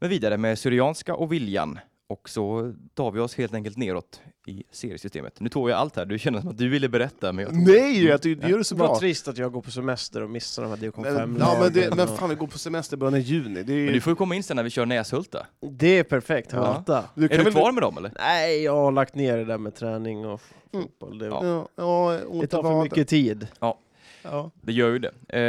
Speaker 1: med, vidare med Syrianska och Viljan och så tar vi oss helt enkelt neråt i seriesystemet. Nu tog jag allt här, du känner som att du ville berätta men jag Mm.
Speaker 3: Nej, jag tycker, det gör det så bra.
Speaker 2: Vad trist att jag går på semester och missar de här division 5
Speaker 3: Men, ja, men, det, men fan, vi går på semester i början av juni. Det är,
Speaker 1: Men
Speaker 3: du,
Speaker 1: du får ju komma in sen när vi kör Näshulta.
Speaker 2: Det är perfekt,
Speaker 1: Ja.
Speaker 2: halta.
Speaker 1: Är
Speaker 3: kan
Speaker 1: du
Speaker 3: väl...
Speaker 1: kvar med dem eller?
Speaker 2: Nej, jag har lagt ner det där med träning och f- fotboll. Det,
Speaker 3: Ja, ja,
Speaker 2: det tar för mycket tid.
Speaker 3: Ja,
Speaker 1: Det gör ju det. Eh,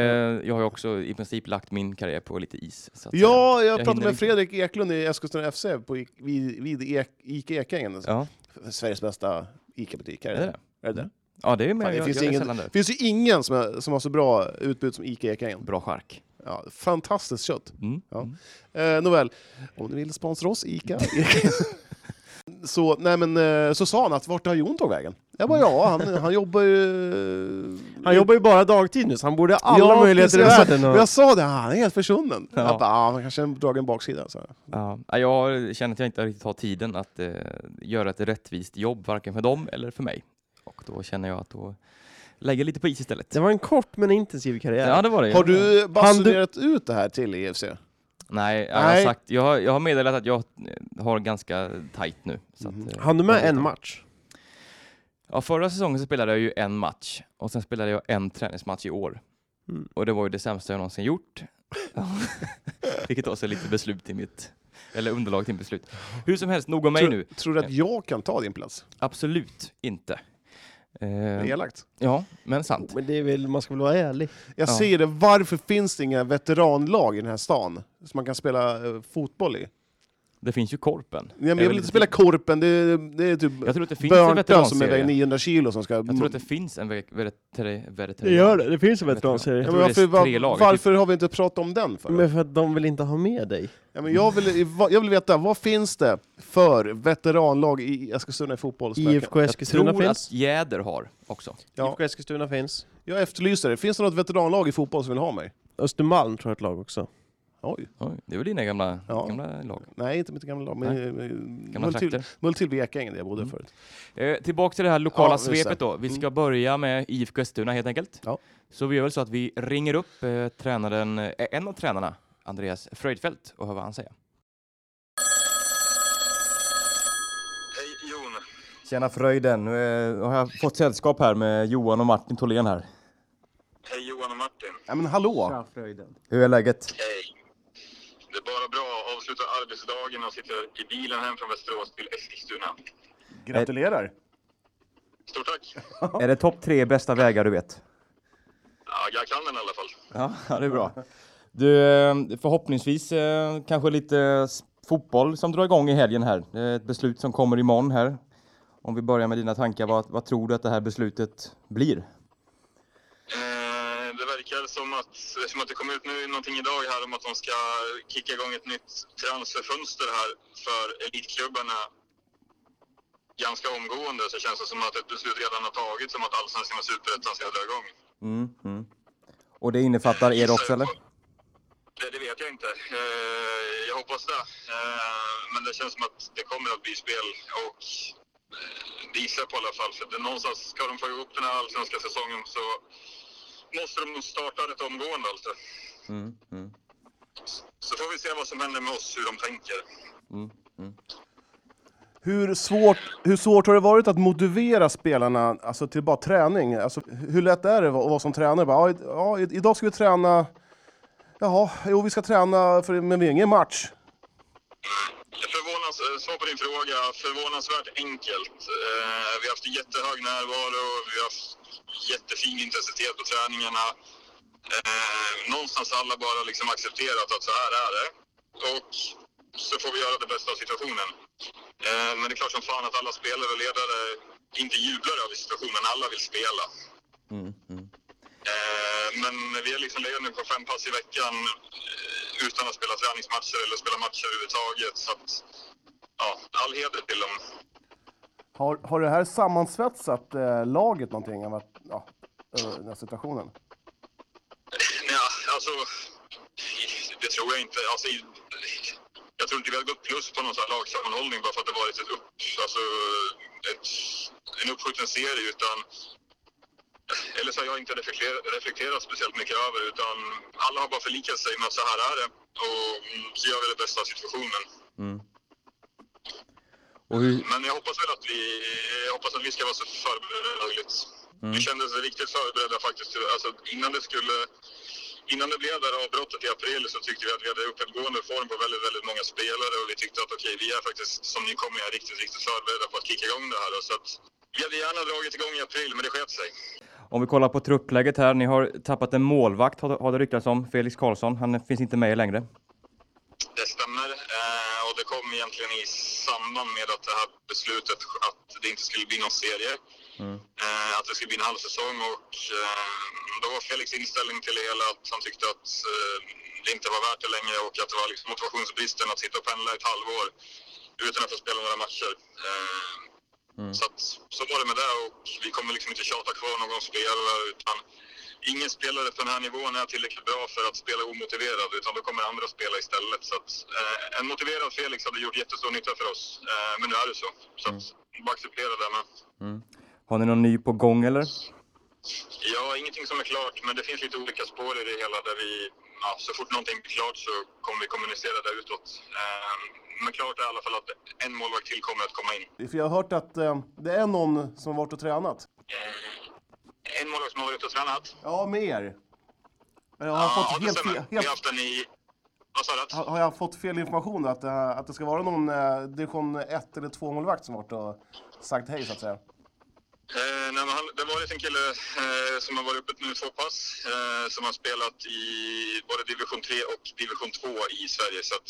Speaker 1: jag har ju också i princip lagt min karriär på lite is. Så att säga.
Speaker 3: ja jag, pratade
Speaker 1: hinner
Speaker 3: med
Speaker 1: inte.
Speaker 3: Fredrik Eklund i Eskilstuna FC på, I- vid, vid Ek, Ica Ekängen.
Speaker 1: Ja,
Speaker 3: Sveriges bästa Ica-butik. Är
Speaker 1: det är
Speaker 3: det
Speaker 1: det.
Speaker 3: är det? det?
Speaker 1: Ja, det är med.
Speaker 3: Fan, det
Speaker 1: jag,
Speaker 3: finns
Speaker 1: jag är
Speaker 3: ingen-
Speaker 1: sällan där.
Speaker 3: Det finns ju ingen som, är, som har så bra utbud som Ica Ekängen.
Speaker 1: Bra chark.
Speaker 3: Ja, fantastiskt kött.
Speaker 1: Mm.
Speaker 3: Ja.
Speaker 1: Mm.
Speaker 3: Eh, nåväl, om ni vill sponsra
Speaker 1: [LAUGHS]
Speaker 3: oss, ICA. så, nej men, eh, så sa han att vart har Jon tagit vägen? Jag bara ja, han, han jobbar ju...
Speaker 2: Han jobbar ju bara dagtid nu, så han borde ha alla
Speaker 3: Ja,
Speaker 2: möjligheter i
Speaker 3: precis.
Speaker 2: världen.
Speaker 3: Men
Speaker 2: Och...
Speaker 3: jag sa det, han är helt försvunnen.
Speaker 1: Ja.
Speaker 3: Jag bara, ah, han kanske dragit en baksida. Så.
Speaker 1: Ja, ja, jag känner att jag inte riktigt har tiden att eh, göra ett rättvist jobb, varken för dem eller för mig. Och då känner jag att då lägger jag lite på is istället.
Speaker 2: Det var en kort men intensiv karriär.
Speaker 1: Ja, det var det. ju.
Speaker 3: Har du
Speaker 2: Han- du-
Speaker 3: basunerat ut det här till IFC?
Speaker 1: Nej, Jag, har
Speaker 3: Nej.
Speaker 1: sagt, jag, har, jag har meddelat att jag har ganska tajt nu. Så att,
Speaker 3: Mhm.
Speaker 1: eh,
Speaker 2: Han du
Speaker 1: jag
Speaker 2: med
Speaker 1: vet
Speaker 2: en
Speaker 1: om-
Speaker 2: match?
Speaker 1: Ja, förra säsongen så spelade jag ju en match och sen spelade jag en träningsmatch i år.
Speaker 2: Mm.
Speaker 1: Och det var ju det sämsta jag någonsin gjort. [LAUGHS] Ja. Vilket också är lite beslut i mitt, eller underlag till mitt beslut. Hur som helst, nog om mig
Speaker 3: Tror-
Speaker 1: nu.
Speaker 3: Tror du att jag kan ta din plats?
Speaker 1: Absolut inte.
Speaker 3: Det är
Speaker 1: Eh,
Speaker 3: elakt.
Speaker 1: ja, men sant.
Speaker 2: Men det är väl, man ska väl vara ärlig?
Speaker 3: Jag
Speaker 1: Ja.
Speaker 3: säger det, varför finns det inga veteranlag i den här stan som man kan spela eh, fotboll i?
Speaker 1: Det finns ju Korpen.
Speaker 3: Ja,
Speaker 1: Det
Speaker 3: men
Speaker 1: är
Speaker 3: jag
Speaker 1: väl
Speaker 3: vill inte
Speaker 1: lite-
Speaker 3: spela Korpen, det är, det är typ
Speaker 1: Jag tror att det finns en
Speaker 3: Börnta som är väger
Speaker 1: veteranserie.
Speaker 3: 900 kilo som ska...
Speaker 1: Jag tror att det finns en ve- veteran...
Speaker 2: det, det finns en
Speaker 1: veteranserie.
Speaker 3: Ja,
Speaker 1: jag
Speaker 3: men
Speaker 1: tror det
Speaker 3: varför,
Speaker 1: är tre lag.
Speaker 3: var, varför har vi inte pratat om den? För?
Speaker 2: Men för att de vill inte ha med dig.
Speaker 3: ja, men jag, vill, jag vill veta, vad finns det för veteranlag i Eskilstuna i fotboll? som jag kan-
Speaker 2: IFK
Speaker 1: Jag
Speaker 2: Eskilstuna
Speaker 1: tror
Speaker 2: finns.
Speaker 1: att Jäder har också.
Speaker 3: Ja,
Speaker 2: IFK Eskilstuna finns.
Speaker 3: jag efterlyser det. Finns det något veteranlag i fotboll som vill ha mig?
Speaker 2: Östermalm tror jag är ett lag också.
Speaker 3: Oj.
Speaker 1: Oj, det är väl dina gamla,
Speaker 3: Ja.
Speaker 1: gamla lag?
Speaker 3: Nej, inte mitt gamla lag. Men,
Speaker 1: Gamla trakter?
Speaker 3: Multil vid Ekängen, där jag bodde förut.
Speaker 1: Eh, tillbaka till det Mm. här lokala
Speaker 3: Ja, just det.
Speaker 1: svepet då. Vi ska börja med IFK Östuna helt enkelt.
Speaker 3: Ja.
Speaker 1: Så vi gör väl så att vi ringer upp eh, tränaren, eh, en av tränarna, Andreas Fröjdfeldt, och hör vad han säger.
Speaker 5: Hej Jon.
Speaker 1: Tjena Fröjden, nu eh, har jag fått sällskap här med Johan och Martin Tholén här.
Speaker 5: Hej Johan och Martin.
Speaker 3: Ja, men hallå!
Speaker 1: Hur är läget?
Speaker 5: Hej. Det är bara bra. Avslutar arbetsdagen och sitter i bilen hem från Västerås till Eskilstuna.
Speaker 3: Gratulerar!
Speaker 5: Stort tack.
Speaker 1: Är det topp tre bästa vägar du vet?
Speaker 5: Ja, jag kan den i alla fall.
Speaker 1: Ja, det är bra. [LAUGHS] Du, eh, förhoppningsvis eh, kanske lite s- fotboll som drar igång i helgen här. Det är ett beslut som kommer imorgon här. Om vi börjar med dina tankar, vad, vad tror du att det här beslutet blir?
Speaker 5: Eh, det verkar som att, eftersom att det kom ut nu någonting idag här om att de ska kicka igång ett nytt transferfönster här för elitklubbarna ganska omgående så känns det som att ett beslut redan har tagits om att allsvenskan och superettan ska dra igång.
Speaker 1: Mm, mm. Och det innefattar er också eller?
Speaker 5: Det, det vet jag inte. Eh, jag hoppas det. Eh, men det känns som att det kommer att bli spel och eh, visar på i alla fall. För det, någonstans ska de få ihop den här allsvenska säsongen så måste de nog starta rätt omgående alltså.
Speaker 1: Mm, mm,
Speaker 5: Så får vi se vad som händer med oss, hur de tänker.
Speaker 1: mm, mm.
Speaker 3: Hur svårt, hur svårt har det varit att motivera spelarna alltså, till bara träning? Alltså, hur lätt är det att vara som tränare? Bara, ja, i- ja, i- idag ska vi träna... Jaha, jo vi ska träna, för, men vi har ingen match.
Speaker 5: Förvånans, eh, svar på din fråga, förvånansvärt enkelt. Eh, vi har haft jättehög närvaro, vi har haft jättefin intensitet på träningarna. Eh, någonstans har alla bara liksom accepterat att så här är det. Och så får vi göra det bästa av situationen. Eh, men det är klart som fan att alla spelare och ledare inte jublar över situationen, alla vill spela.
Speaker 1: Mm, mm.
Speaker 5: Eh, men vi har liksom legat nu på fem pass i veckan eh, utan att spela träningsmatcher eller spela matcher överhuvudtaget. Så att, ja, all heder till dem.
Speaker 3: Har, har det här sammansvetsat eh, laget någonting? Av att, ja, eh, den här situationen?
Speaker 5: Ja, alltså, det tror jag inte. Alltså, i- jag tror inte vi hade gått plus på någon sån här lagsammanhållning bara för att det varit ett upp, alltså, ett, en uppskjuten serie. Utan, eller så har jag inte reflekterat, reflekterat speciellt mycket över utan alla har bara förlikat sig med att så här är det. Och mm, så gör vi det bästa av situationen.
Speaker 1: Mm. Och hur,
Speaker 5: Men jag hoppas väl att vi, jag hoppas att vi ska vara så förberedda som möjligt.
Speaker 1: Mm.
Speaker 5: Vi kändes riktigt förberedda faktiskt. Alltså, innan, det skulle, innan det blev det här avbrottet i april så tyckte vi att vi hade uppåtgående form på väldigt, väldigt många spelare och vi tyckte att okej, vi är faktiskt som nykomlingar riktigt, riktigt förberedda på att kicka igång det här. Så att, vi hade gärna dragit igång i april, men det sket sig.
Speaker 1: om vi kollar på truppläget här, ni har tappat en målvakt har, har det ryktats om, Felix Karlsson. Han finns inte med längre.
Speaker 5: Det stämmer. Eh, och det kom egentligen i samband med att det här beslutet att det inte skulle bli någon serie. Eh, att det skulle bli en halv säsong. Och eh, då var Felix inställning till det hela att han tyckte att eh, det inte var värt det längre och att det var liksom motivationsbristen att sitta och pendla ett halvår utan att få spela några matcher. Eh, så, att, så var det med det och vi kommer liksom inte tjata kvar någon spelare utan ingen spelare på den här nivån är tillräckligt bra för att spela omotiverad utan då kommer andra spela istället. Så att, eh, en motiverad Felix hade gjort jättestor nytta för oss. Eh, men nu är det så. Så att, bara acceptera det. Men,
Speaker 1: Har ni någon ny på gång eller?
Speaker 5: ja, ingenting som är klart men det finns lite olika spår i det hela där vi, ja, så fort någonting blir klart så kommer vi kommunicera det utåt. Eh, men klart är i alla fall att en målvakt till kommer att komma in.
Speaker 3: För jag har hört att eh, det är någon som har varit och tränat.
Speaker 5: Eh, En målvakt som har varit ute och tränat.
Speaker 3: Ja, med er. Eller har jag fått
Speaker 5: det
Speaker 3: helt,
Speaker 5: stämmer.
Speaker 3: fel-
Speaker 5: Vi har
Speaker 3: helt,
Speaker 5: haft den i... Vad sa du?
Speaker 3: har, har jag fått fel information? Att, eh, att det ska vara någon eh, division 1 eller 2-målvakt som har varit och sagt hej, så att säga?
Speaker 5: Eh, nej, men han, det var en kille eh, som har varit uppe nu två pass eh, som har spelat i både division 3 och division 2 i Sverige. Så att,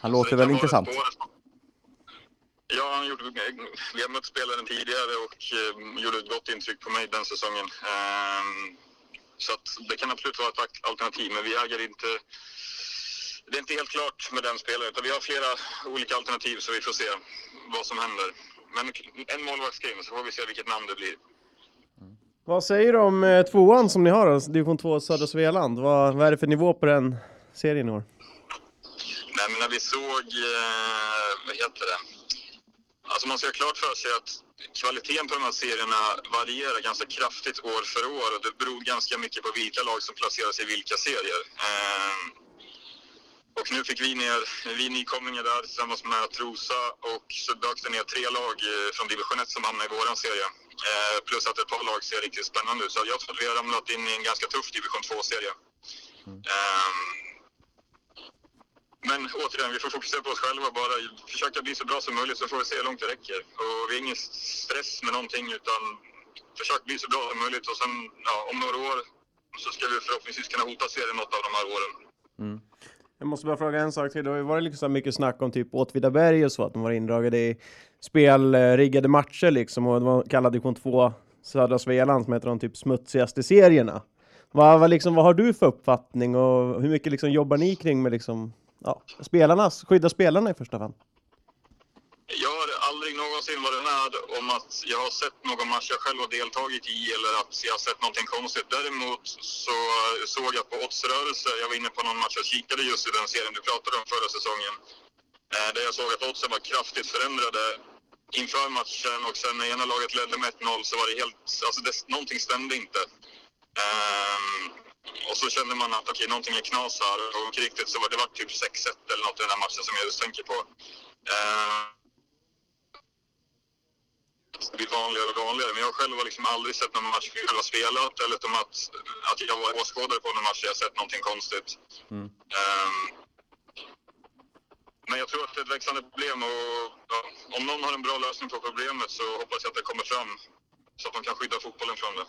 Speaker 1: Han
Speaker 5: så
Speaker 1: låter
Speaker 5: det
Speaker 1: väl
Speaker 5: kan
Speaker 1: intressant.
Speaker 5: vara ett spår. Ja, han gjorde, vi har mött spelaren tidigare och eh, gjorde ett gott intryck på mig den säsongen. Ehm, så att det kan absolut vara ett ak- alternativ, men vi äger inte... Det är inte helt klart med den spelaren, utan vi har flera olika alternativ så vi får se vad som händer. Men en målvakt ska in, så får vi se vilket namn det blir.
Speaker 2: Vad säger du om eh, tvåan som ni har då, division 2 Södra Svealand? Vad, vad är det för nivå på den serien i år?
Speaker 5: Nej, men när vi såg, eh, vad heter det? Alltså man ska ha klart för sig att kvaliteten på de här serierna varierar ganska kraftigt år för år och det beror ganska mycket på vilka lag som placerar sig i vilka serier. Eh, och nu fick vi ner, vi nykomlingar där tillsammans med Trosa och så dök det ner tre lag eh, från division 1 som hamnade i våran serie. Eh, plus att ett par lag ser riktigt spännande ut så jag tror att vi har ramlat in i en ganska tuff division 2-serie. Eh, men återigen, vi får fokusera på oss själva bara. Försöka bli så bra som möjligt så får vi se hur långt det räcker. Och vi har ingen stress med någonting utan försök bli så bra som möjligt och sen ja, om några år så ska vi förhoppningsvis kunna hota serien något av de här åren.
Speaker 2: Jag måste bara fråga en sak till. Det har ju varit liksom så här mycket snack om typ Åtvidaberg och så, att de var indragade i spelriggade matcher liksom och det var kallad division 2 Södra Svealand som heter de typ smutsigaste serierna. Vad, vad, liksom, vad har du för uppfattning och hur mycket liksom jobbar ni kring med liksom, ja, spelarnas, skydda spelarna i första hand?
Speaker 5: Jag har aldrig någonsin varit med om att jag har sett någon match jag själv har deltagit i eller att jag har sett någonting konstigt. Däremot så såg jag på oddsrörelser, jag var inne på någon match och kikade just i den serien du pratade om förra säsongen, eh, där jag såg att oddsen var kraftigt förändrade inför matchen och sen när ena laget ledde med 1-0 så var det helt, alltså det, någonting stämde inte. Ehm, och så kände man att okej, någonting är knas här och inte riktigt så var det var typ 6-1 eller något i den här matchen som jag just tänker på. Ehm, blivit vanligare och vanligare. Men jag själv har liksom aldrig sett någon match jag har spelat eller utom att, att jag var åskådare på någon match jag har sett någonting konstigt.
Speaker 1: Mm.
Speaker 5: Ehm, men jag tror att det är ett växande problem och ja, om någon har en bra lösning på problemet så hoppas jag att det kommer fram så att de kan skydda fotbollen från det.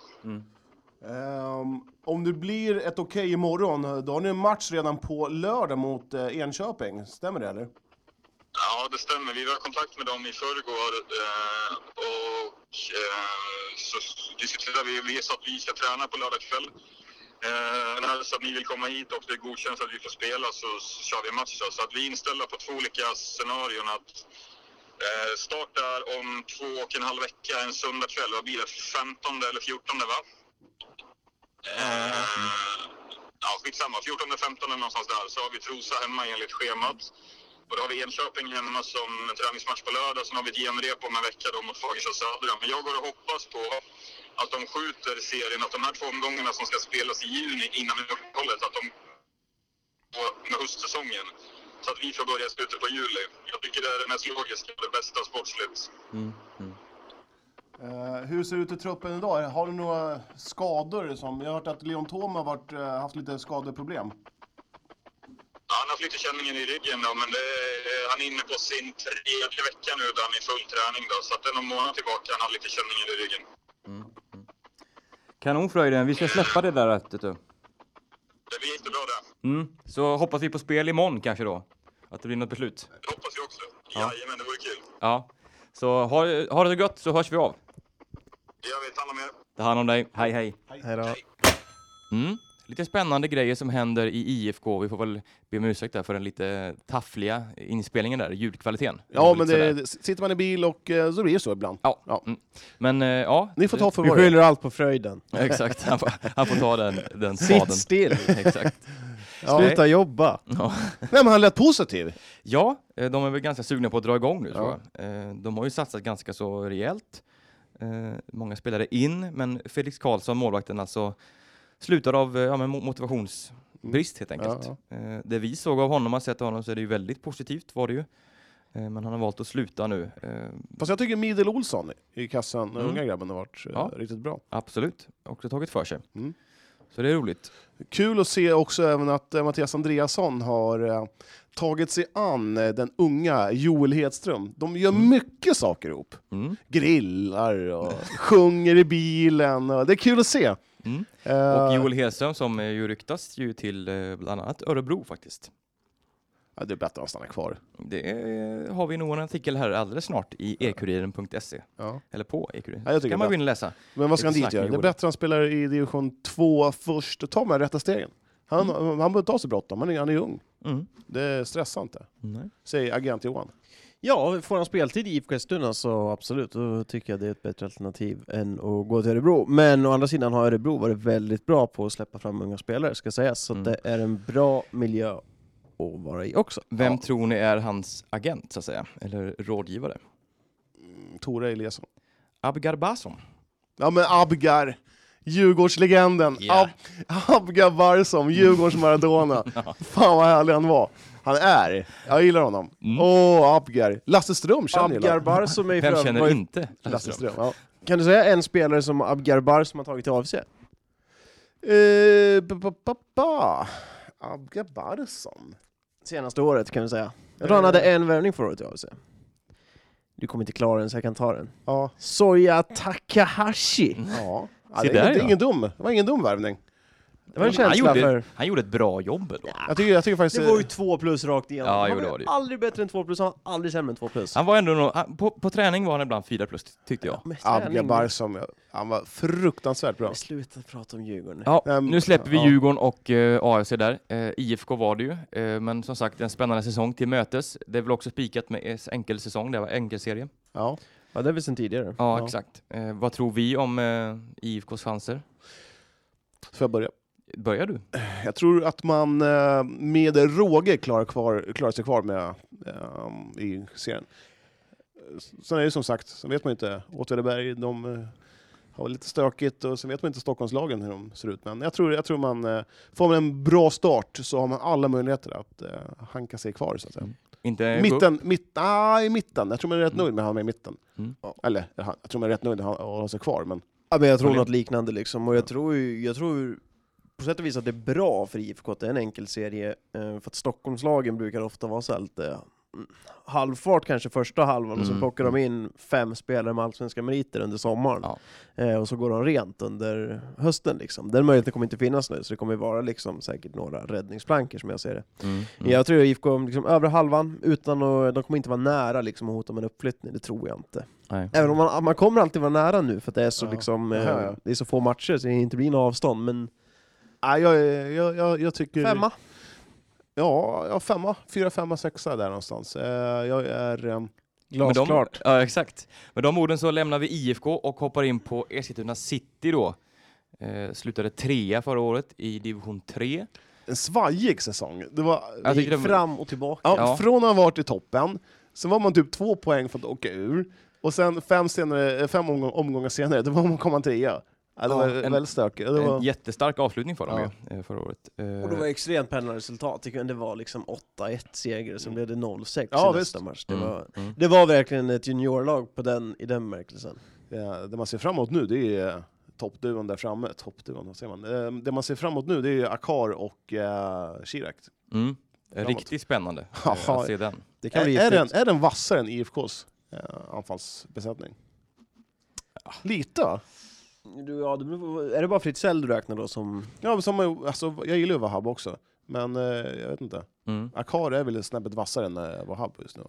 Speaker 3: Ehm, om det blir ett okej imorgon, då har ni en match redan på lördag mot eh, Enköping. Stämmer det eller?
Speaker 5: Ja, det stämmer. Vi var i kontakt med dem i förrgår eh, och eh, så diskuterade vi. Vi sa att vi ska träna på lördag kväll. Eh, när så att ni vill komma hit och det godkänns att vi får spela så, så kör vi match. då. Så att vi är inställda på två olika scenarion. Att, eh, start där om två och en halv vecka, en söndag kväll. Vad blir det? 15 eller 14 va? Eh, ja, skitsamma. 14 15 någonstans där. Så har vi Trosa hemma enligt schemat. Och då har vi Enköping hemma som en träningsmatch på lördag. Sen har vi ett genrep om en vecka då mot Fagersta Södra. Men jag går och hoppas på att de skjuter serien, att de här två omgångarna som ska spelas i juni innan uppehållet, att de går med höstsäsongen. Så att vi får börja i slutet på juli. Jag tycker det är det mest logiska och det bästa sportsligt.
Speaker 3: Eh, hur ser det ut i truppen idag? Har ni några skador? Som, jag har hört att Leon Thom har varit, eh, haft lite skadeproblem.
Speaker 5: Ja, han har haft lite känningen i ryggen då, men det, är- han är inne på sin tredje vecka nu där han är i full träning då. Så att det är någon månad tillbaka han har lite känningen i ryggen.
Speaker 1: Kanon Fröjden, vi ska släppa det där vet du.
Speaker 5: Det blir jättebra det.
Speaker 1: Mm. Så hoppas vi på spel imorgon kanske då. Att det blir något beslut.
Speaker 5: Det hoppas jag också. Jajamän, det vore kul.
Speaker 1: Ja. Så ha, ha det så gött så hörs vi av.
Speaker 5: Jag vet alla mer.
Speaker 1: Ta hand om dig. Hej hej.
Speaker 2: Hejdå.
Speaker 1: Mm. Lite spännande grejer som händer i IFK. Vi får väl be om ursäkt där för den lite taffliga inspelningen där, ljudkvaliteten.
Speaker 3: Ja,
Speaker 1: var
Speaker 3: men
Speaker 1: lite sådär.
Speaker 3: det, sitter man i bil och eh, så blir det så ibland.
Speaker 1: Ja.
Speaker 3: Ja.
Speaker 1: Mm. Men eh, ja.
Speaker 3: Ni får ta för
Speaker 2: Vi
Speaker 3: vad det är.
Speaker 2: skyller allt på fröjden.
Speaker 1: Exakt, han får, han får ta den, den spaden.
Speaker 2: Sitt still!
Speaker 3: [LAUGHS]
Speaker 1: Exakt.
Speaker 2: Sluta jobba!
Speaker 3: Nej, men han lät positiv.
Speaker 1: Ja, eh, de är väl ganska sugna på att dra igång nu tror jag. Eh, De har ju satsat ganska så rejält. Eh, Många spelare in, men Felix Karlsson, målvakten, alltså slutar av eh, ja, men mo- motivationsbrist helt enkelt.
Speaker 3: Mm. Ja,
Speaker 1: Eh, Det vi såg av honom, har sett av honom, så är det ju väldigt positivt var det ju. Eh, Men han har valt att sluta nu. Eh,
Speaker 3: Fast jag tycker Midel Olsson i kassan, den
Speaker 1: Mm.
Speaker 3: unga grabben, har varit eh,
Speaker 1: Ja.
Speaker 3: riktigt bra.
Speaker 1: Absolut, också tagit för sig.
Speaker 3: Mm.
Speaker 1: Så det är roligt.
Speaker 3: Kul att se också även att eh, Mattias Andreasson har eh, tagit sig an eh, den unga Joel Hedström. De gör mycket saker ihop.
Speaker 1: Mm.
Speaker 3: Grillar och sjunger i bilen. Och det är kul att se.
Speaker 1: Mm.
Speaker 3: Eh,
Speaker 1: Och Joel Hedström som eh, ju ryktas ju till eh, bland annat Örebro faktiskt.
Speaker 3: ja, det är bättre att han stannar kvar.
Speaker 1: Det eh, har vi nog en artikel här alldeles snart i ekuriren.se.
Speaker 3: Ja.
Speaker 1: Eller på ekuriren.
Speaker 3: Ja, jag tycker
Speaker 1: kan man
Speaker 3: det.
Speaker 1: gå in och läsa.
Speaker 3: Men vad ska
Speaker 1: Lite
Speaker 3: han dit
Speaker 1: snack med
Speaker 3: göra? Det är
Speaker 1: Joel.
Speaker 3: bättre att han spelar i division 2 först och tar de här rätta stegen. Han, han behöver inte ha så bråttom, han är, han är ung.
Speaker 1: Mm.
Speaker 3: Det stressar inte.
Speaker 1: Nej.
Speaker 3: Säger agent Johan.
Speaker 2: Ja, får han speltid i IFK Eskilstuna så absolut, då tycker jag det är ett bättre alternativ än att gå till Örebro. Men å andra sidan har Örebro varit väldigt bra på att släppa fram unga spelare, ska sägas. Så
Speaker 1: Mm.
Speaker 2: det är en bra miljö att vara i också.
Speaker 1: Vem tror ni är hans agent så att säga? Eller rådgivare?
Speaker 3: Tora Eliasson.
Speaker 1: Abgar Bason.
Speaker 3: Ja men Abgar, Djurgårdslegenden.
Speaker 1: Ja.
Speaker 3: Ab Abgar Barsom,
Speaker 1: [LAUGHS]
Speaker 3: Djurgårdens Maradona. Fan vad härlig han var. Han är, jag gillar honom. Åh,
Speaker 1: Mm.
Speaker 3: Abgar. Lasse Ström känner jag
Speaker 2: Abgar
Speaker 3: gillar.
Speaker 2: Bar som är
Speaker 1: Vem
Speaker 2: för-
Speaker 1: känner
Speaker 2: var ju-
Speaker 1: inte
Speaker 3: Lasse Ström. Ja.
Speaker 2: Kan du säga en spelare som Abgar Bar som har tagit till AFC?
Speaker 3: Eh, ba- ba- ba- ba. Abgar Barsom.
Speaker 2: Senaste året kan du säga. Jag tror han hade
Speaker 1: Eh.
Speaker 2: en värvning förra året till AFC. Du kommer inte klara den så jag kan ta den.
Speaker 3: Ja.
Speaker 2: Soya Takahashi.
Speaker 3: ja. ja
Speaker 1: Se
Speaker 3: det, är,
Speaker 1: där,
Speaker 3: det, är
Speaker 1: ja.
Speaker 3: ingen dum. det var ingen dum värvning.
Speaker 2: Det var en
Speaker 1: Han
Speaker 2: känsla för...
Speaker 1: gjorde, han gjorde ett bra jobb då.
Speaker 3: Jag tycker, jag tycker faktiskt... eh,
Speaker 2: Det var ju två plus rakt igenom.
Speaker 1: Ja,
Speaker 2: han
Speaker 1: jo,
Speaker 2: var
Speaker 1: det
Speaker 2: ju
Speaker 1: var det ju.
Speaker 2: aldrig bättre än två plus, han var aldrig sämre än två plus.
Speaker 1: Han var ändå nå- han, på, på träning var han ibland fyra plus tyckte jag.
Speaker 2: Men träning-
Speaker 3: Abgar Barsom, ja. han var fruktansvärt bra.
Speaker 2: Men Sluta prata om Djurgården.
Speaker 1: Ja,
Speaker 3: Ehm,
Speaker 1: nu släpper vi
Speaker 3: ja.
Speaker 1: Djurgården och eh, AFC där. Eh, IFK var det ju, eh, men som sagt en spännande säsong till mötes. Det är väl också spikat med eh, enkelsäsong, det var enkelserie.
Speaker 3: Ja.
Speaker 2: Ja, det är väl sen tidigare.
Speaker 1: Ja,
Speaker 3: Ja.
Speaker 1: exakt. Eh, vad tror vi om eh, IFKs chanser?
Speaker 3: Får jag börja?
Speaker 1: Börjar du?
Speaker 3: Jag tror att man eh, med råge klarar, kvar, klarar sig kvar med, eh, i serien. sen är det som sagt, sen vet man inte. Åtvidaberg, de eh, har väl lite stökigt och sen vet man inte Stockholmslagen hur de ser ut. Men jag tror, jag tror man, eh, får man en bra start så har man alla möjligheter att eh, hanka sig kvar så att säga.
Speaker 1: Inte Mm. Eh, gå upp.
Speaker 3: Mitten, mitt, ah, i mitten. Jag tror man är rätt nöjd med att han är i mitten.
Speaker 1: Mm.
Speaker 3: Ja, Eller, han- jag tror man är rätt nöjd med att han- att hålla sig kvar. Men
Speaker 2: Ja, men jag tror
Speaker 3: Håller-
Speaker 2: något liknande liksom, och jag tror, ju- jag tror på sätt och vis att det är bra för IFK att det är en enkel serie, eh, för att Stockholmslagen brukar ofta vara så här lite mm, halvfart kanske första halvan, och så
Speaker 1: Mm.
Speaker 2: plockar de in fem spelare med allsvenska meriter under sommaren,
Speaker 1: Ja.
Speaker 2: eh, och så går de rent under hösten liksom. Den möjligheten kommer inte finnas nu, så det kommer vara liksom säkert några räddningsplankor som jag ser det.
Speaker 1: Mm.
Speaker 2: Mm. Jag tror IFK om liksom övre halvan, utan att, de kommer inte vara nära liksom, att hota med en uppflyttning, det tror jag inte.
Speaker 1: Nej.
Speaker 2: Även om man, man kommer alltid vara nära nu för att det är så,
Speaker 3: Ja.
Speaker 2: liksom, eh,
Speaker 3: Jaha, ja.
Speaker 2: det är så få matcher så det inte blir något avstånd, men
Speaker 3: ah, jag, jag, jag, jag tycker...
Speaker 2: femma?
Speaker 3: Ja, ja femma. Fyra, femma, sexa där någonstans. Eh, jag är... ehm,
Speaker 1: Med de- Ja, exakt. Med de orden så lämnar vi IFK och hoppar in på Eskilstuna City då. Eh, slutade trea förra året i division 3.
Speaker 3: en svajig säsong. Det var,
Speaker 1: Jag
Speaker 2: gick
Speaker 1: tycker det-
Speaker 2: fram och tillbaka.
Speaker 3: ja,
Speaker 1: ja.
Speaker 3: Från att ha varit i toppen, sen var man typ två poäng för att åka ur, och sen fem, senare, eh, fem omgång, omgångar senare, då var man komma trea. Ja, det
Speaker 1: Ja,
Speaker 3: var
Speaker 1: en-
Speaker 3: väldigt stökigt. Det
Speaker 1: En
Speaker 3: var,
Speaker 1: jättestark avslutning för dem
Speaker 3: Ja.
Speaker 1: ju, eh, förra året. Eh,
Speaker 2: Och det var extremt pendlande resultat, Tycker jag. det var liksom 8-1 seger, sen blev det 0-6
Speaker 3: Ja,
Speaker 2: i nästa
Speaker 3: visst.
Speaker 2: match. Det,
Speaker 1: Mm,
Speaker 2: var,
Speaker 1: mm.
Speaker 2: det var verkligen ett juniorlag på den, i den bemärkelsen.
Speaker 3: eh, det man ser framåt nu, det är eh, toppduon där framme. Toppduon, vad säger man? Eh, Det man ser framåt nu, det är Akar och eh, Chirac.
Speaker 1: Mm. Riktigt
Speaker 3: [LAUGHS]
Speaker 1: spännande
Speaker 3: Ja,
Speaker 1: eh, att se den.
Speaker 2: Det kan
Speaker 3: Är,
Speaker 2: bli
Speaker 3: är, den,
Speaker 2: häftigt.
Speaker 3: är den vassare än IFKs eh, anfallsbesättning? Lite va?
Speaker 2: Du, ja, det beror- Är det bara Fritzell du räknar då som...
Speaker 3: Ja, men som, alltså, jag gillar ju Wahab också, men eh, jag vet inte.
Speaker 1: Mm.
Speaker 3: Akar är väl snäppet vassare än eh, Wahab just nu?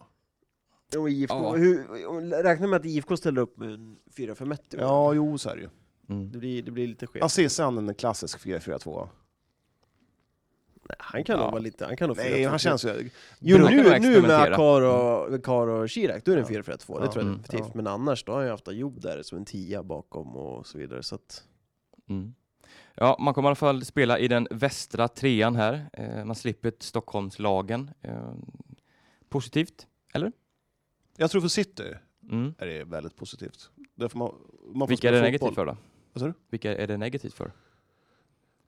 Speaker 2: Och IFK,
Speaker 1: Ja.
Speaker 2: hur, om- räkna med att IFK ställer upp med en 4-5-1 i år.
Speaker 3: Ja, jo så är det ju.
Speaker 1: Mm.
Speaker 2: Det blir, det blir lite skevt.
Speaker 3: Aziz är han en klassisk 4-4-2?
Speaker 2: han kan nog
Speaker 1: ja.
Speaker 2: vara lite... Han kan nog
Speaker 3: Nej, han känns ju...
Speaker 2: Jo,
Speaker 1: Brukar nog
Speaker 2: nu, nu med
Speaker 1: experimentera.
Speaker 2: Akar och, Akar och Chirac, då är det en 4-4-2, det
Speaker 3: Ja,
Speaker 2: tror jag
Speaker 1: mm,
Speaker 2: definitivt.
Speaker 3: ja.
Speaker 2: Men annars, då har jag haft Ayoub där som en tia bakom och så vidare. Så att,
Speaker 1: Mm. Ja, man kommer i alla fall spela i den västra trean här. Eh, man slipper Stockholmslagen. Eh, positivt.
Speaker 3: Jag tror för City
Speaker 1: Mm.
Speaker 3: är det väldigt positivt. Därför man, man får
Speaker 1: Vilka är
Speaker 3: spela
Speaker 1: det
Speaker 3: fotboll.
Speaker 1: negativt för då?
Speaker 3: Vad sa du? Eh,
Speaker 1: Vilka är det negativt för?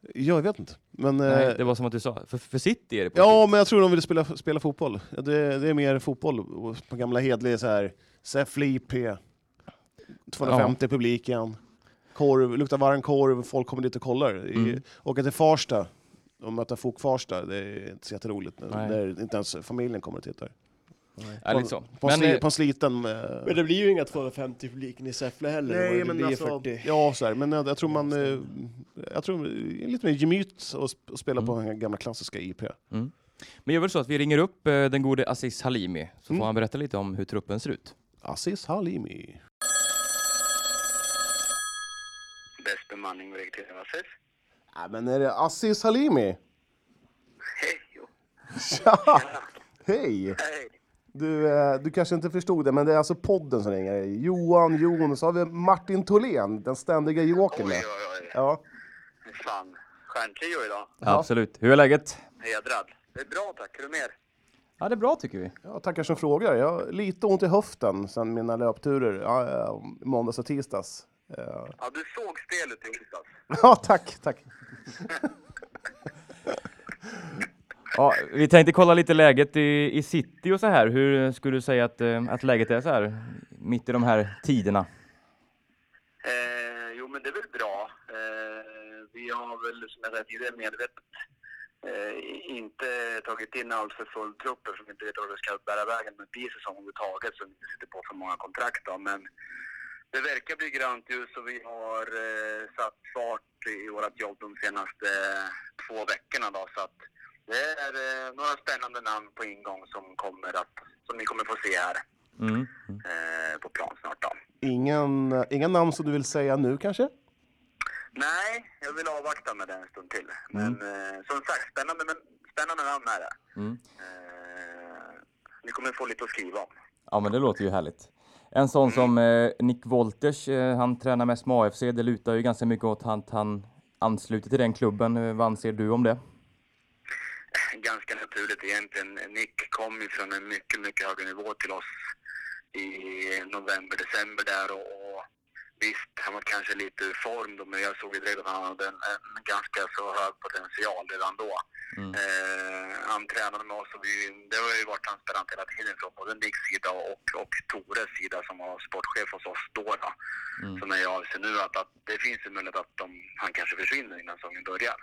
Speaker 3: Ja, jag vet inte. Men,
Speaker 1: Nej,
Speaker 3: eh,
Speaker 1: det var som att du sa. För, för City är det positivt.
Speaker 3: ja, men jag tror de vill spela, spela fotboll. Ja, Det, det är mer fotboll och på gamla hedliga så här. Säffle IP, 250 publiken, korv, luktar varm korv, folk kommer dit och kollar. I,
Speaker 1: Mm.
Speaker 3: Åka till Farsta och möta FOK Farsta, det är inte så jätteroligt.
Speaker 1: Nej.
Speaker 3: När inte ens familjen kommer och tittar.
Speaker 1: Ja, lite så.
Speaker 3: På, en,
Speaker 1: Men,
Speaker 3: sli,
Speaker 1: eh,
Speaker 3: på en sliten... eh,
Speaker 2: det blir ju inga 250 publiken i Säffle heller. alltså,
Speaker 3: ja, så här, men jag, jag tror man... eh, Jag tror det är lite mer gemyt att sp- att spela på
Speaker 1: Mm.
Speaker 3: den här gamla klassiska IP.
Speaker 1: men jag vill så att vi ringer upp eh, den gode Aziz Halimi så får
Speaker 3: Mm.
Speaker 1: han berätta lite om hur truppen ser ut.
Speaker 3: Aziz Halimi.
Speaker 6: Bäst bemanning och rekrytering, vad sägs?
Speaker 3: Ja, men är det Aziz Halimi?
Speaker 6: Hej, jo.
Speaker 3: Tja! Hej!
Speaker 6: Hej.
Speaker 3: Du, eh, du kanske inte förstod det, men det är alltså podden som ringer. Johan, Jon och så har vi Martin Tholén, den ständiga jokern.
Speaker 6: Oj,
Speaker 3: där.
Speaker 6: oj, oj.
Speaker 3: Ja.
Speaker 6: Fan. Stjärntrio idag.
Speaker 1: Absolut. Hur är läget?
Speaker 6: Hedrad. Det är bra tack. Hur är det med er?
Speaker 1: Ja, det är bra tycker vi.
Speaker 3: Ja, tackar som frågar. Jag har lite ont i höften sedan mina löpturer ja, eh, måndags och tisdags. [LAUGHS] Eh,
Speaker 6: Ja, du såg spelet i onsdags.
Speaker 3: Ja, tack, tack.
Speaker 1: Ja, vi tänkte kolla lite läget i, i city och så här. Hur skulle du säga att, eh, att läget är så här mitt i de här tiderna?
Speaker 6: Eh, jo, men det är väl bra. Eh, vi har väl, som jag sa tidigare, medvetet eh, inte tagit in allt för full trupp eftersom vi inte vet vad det ska bära vägen med bisäsong överhuvudtaget så vi inte sitter på för många kontrakt. Då. Men det verkar bli grönt ljus och vi har eh, satt fart i vårt jobb de senaste eh, två veckorna. Då, så att det är eh, några spännande namn på ingång som, kommer att, som ni kommer få se här
Speaker 1: Mm.
Speaker 6: eh, på plan snart. Då.
Speaker 3: Ingen, inga namn som du vill säga nu kanske?
Speaker 6: Nej, jag vill avvakta med det en stund till. Men eh, som sagt, spännande, men spännande namn är det.
Speaker 1: Mm.
Speaker 6: Eh, ni kommer få lite att skriva om.
Speaker 1: Ja, men det låter ju härligt. En sån som eh, Nick Wolters, eh, han tränar mest med AFC. Det lutar ju ganska mycket åt att han ansluter till den klubben. Eh, Vad anser du om det?
Speaker 6: Ganska naturligt egentligen. Nick kom ju från en mycket, mycket högre nivå till oss i november, december där och, och visst, han var kanske lite ur form då, men jag såg ju direkt att han hade en, en ganska så hög potential redan då.
Speaker 7: Mm.
Speaker 6: Eh, han tränade med oss och vi, det har ju varit transparent hela tiden från både Nicks sida och, och Tores sida som var sportchef hos oss då. då.
Speaker 7: Mm.
Speaker 6: Så när jag avser nu att, att det finns en möjlighet att de, han kanske försvinner innan säsongen börjar.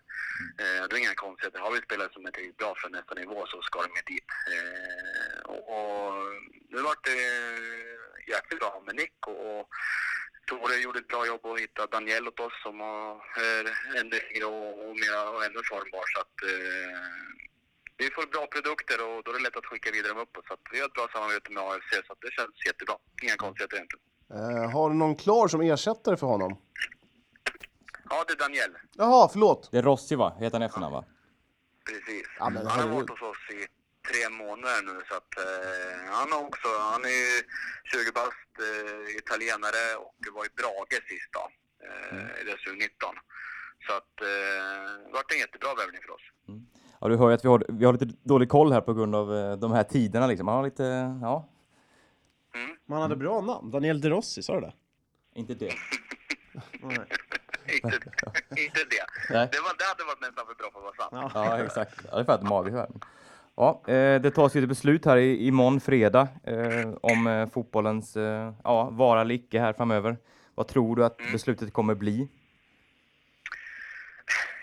Speaker 6: Eh, det är inga konstigheter. Har vi spelare som är tillräckligt bra för nästa nivå så ska de ju dit. Eh, och, och nu vart det eh, jäkligt bra med Nick och, och Tore gjorde ett bra jobb och hittade Daniel åt oss som har- är ännu yngre och, och, mera, och ännu formbar. Så att, eh, vi får bra produkter och då är det lätt att skicka vidare dem uppåt. Så att vi har ett bra samarbete med AFC så att det känns jättebra. Inga konstigheter egentligen.
Speaker 3: Eh, har du någon klar som ersättare för honom?
Speaker 6: Ja, det är Daniel.
Speaker 3: Jaha, förlåt!
Speaker 1: Det är Rossi va? Heter han i efternamn va?
Speaker 6: Precis.
Speaker 3: Ja, men
Speaker 6: han har
Speaker 3: herregud.
Speaker 6: varit hos oss i tre månader nu så att eh, han har också, han är ju 20 bast, eh, italienare och var i Brage sist då,
Speaker 3: Mm.
Speaker 6: eh, i dess U19. Så att eh, det vart en jättebra värvning för oss.
Speaker 1: Ja, du hör ju att vi har, vi har lite dålig koll här på grund av eh, de här tiderna liksom. Han har lite, ja.
Speaker 2: Man hade bra namn, Daniel De Rossi, sa du det?
Speaker 1: Inte det.
Speaker 3: [LAUGHS]
Speaker 6: inte, inte det.
Speaker 1: Nej.
Speaker 6: Det, var, det hade varit nästan för bra för att vara sant.
Speaker 1: Ja, exakt. Ja, det är för att magiskt värld. Ja, eh, det tas ju ett beslut här i- imorgon fredag eh, om eh, fotbollens eh, ja, vara eller icke här framöver. Vad tror du att
Speaker 6: Mm.
Speaker 1: beslutet kommer bli?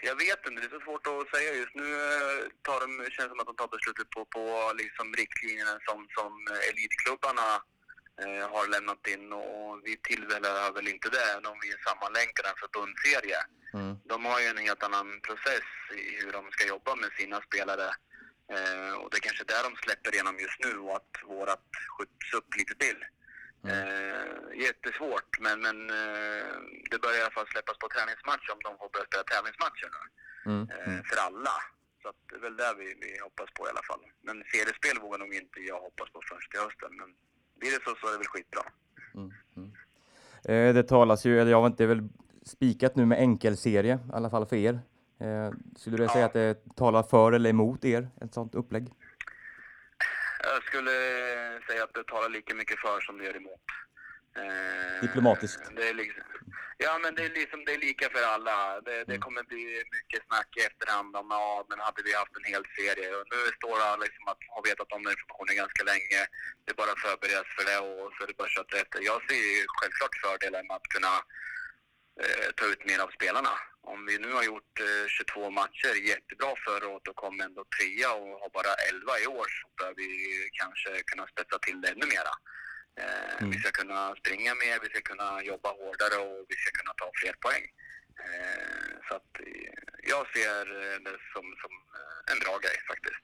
Speaker 6: Jag vet inte, det är så svårt att säga just nu. eh, Tar de, känns det som att de tar beslutet på, på liksom riktlinjerna som, som eh, elitklubbarna eh, har lämnat in och vi tillhör väl inte det, även om vi är sammanlänkade i en förbundsserie.
Speaker 1: Mm.
Speaker 6: De har ju en helt annan process i hur de ska jobba med sina spelare. Eh, och det är kanske är där de släpper igenom just nu och att vårat skjuts upp lite till.
Speaker 1: Mm.
Speaker 6: Eh, jättesvårt, men, men eh, det börjar i alla fall släppas på träningsmatcher om de får börja spela tävlingsmatcher nu.
Speaker 1: Mm.
Speaker 6: Eh, för alla. Så att det är väl där vi, vi hoppas på i alla fall. Men seriespel vågar nog inte jag hoppas på förrän till hösten. Men blir det så så är det väl skitbra.
Speaker 1: Eh, det talas ju, eller jag vet inte, det är väl spikat nu med enkelserie, i alla fall för er. Eh, skulle du säga att det talar för eller emot er, ett sånt upplägg?
Speaker 6: Jag skulle säga att det talar lika mycket för som det gör emot. Eh,
Speaker 1: Diplomatiskt.
Speaker 6: Det är liksom, ja, men det är, liksom, det är lika för alla. Det, det kommer bli mycket snack i efterhand om ja, men hade vi haft en hel serie. Och nu står det liksom att har vetat om den informationen ganska länge. Det är bara att förberedas för det och så är det bara att köra efter. Jag ser ju självklart fördelar med att kunna eh, ta ut mer av spelarna. Om vi nu har gjort eh, 22 matcher jättebra förra året och kom ändå trea och har bara 11 i år så bör vi kanske kunna spetsa till det ännu mera. Eh, Vi ska kunna springa mer, vi ska kunna jobba hårdare och vi ska kunna ta fler poäng. Eh, så att eh, jag ser eh, det som, som eh, en bra grej faktiskt.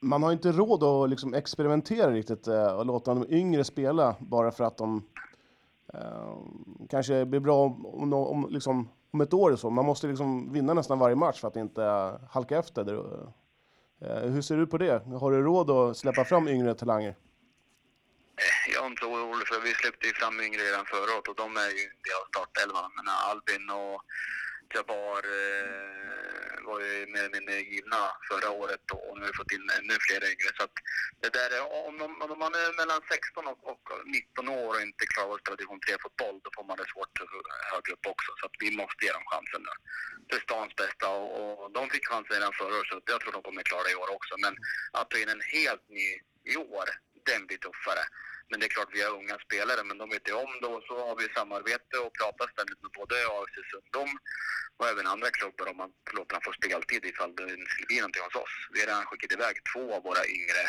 Speaker 3: Man har inte råd att liksom experimentera riktigt eh, och låta de yngre spela bara för att de eh, kanske blir bra om, om, om, liksom, om ett år eller så. Man måste liksom vinna nästan varje match för att inte eh, halka efter. där. Eh, hur ser du på det? Har du råd att släppa fram yngre talanger?
Speaker 6: Jag är inte orolig för vi släppte ju fram yngre redan förra året och de är ju en del av startelvan. Men Albin och Jabbar eh, var ju mer eller mindre givna förra året och nu har vi fått in ännu fler yngre. Så att det där, är- om, de, om man är mellan 16 och, och 19 år och inte klarar av att spela division 3-fotboll då får man det svårt högre upp också. Så att vi måste ge dem chansen nu. Det är stans bästa och, och de fick chansen redan förra året så jag tror de kommer klara det i år också. Men att ta in en helt ny i år, den blir tuffare. Men det är klart, vi har unga spelare, men de vet ju om det och så har vi samarbete och pratar ständigt med både AFCs ungdom och även andra klubbar om man låter dem få speltid ifall det skulle bli någonting hos oss. Vi har redan skickat iväg två av våra yngre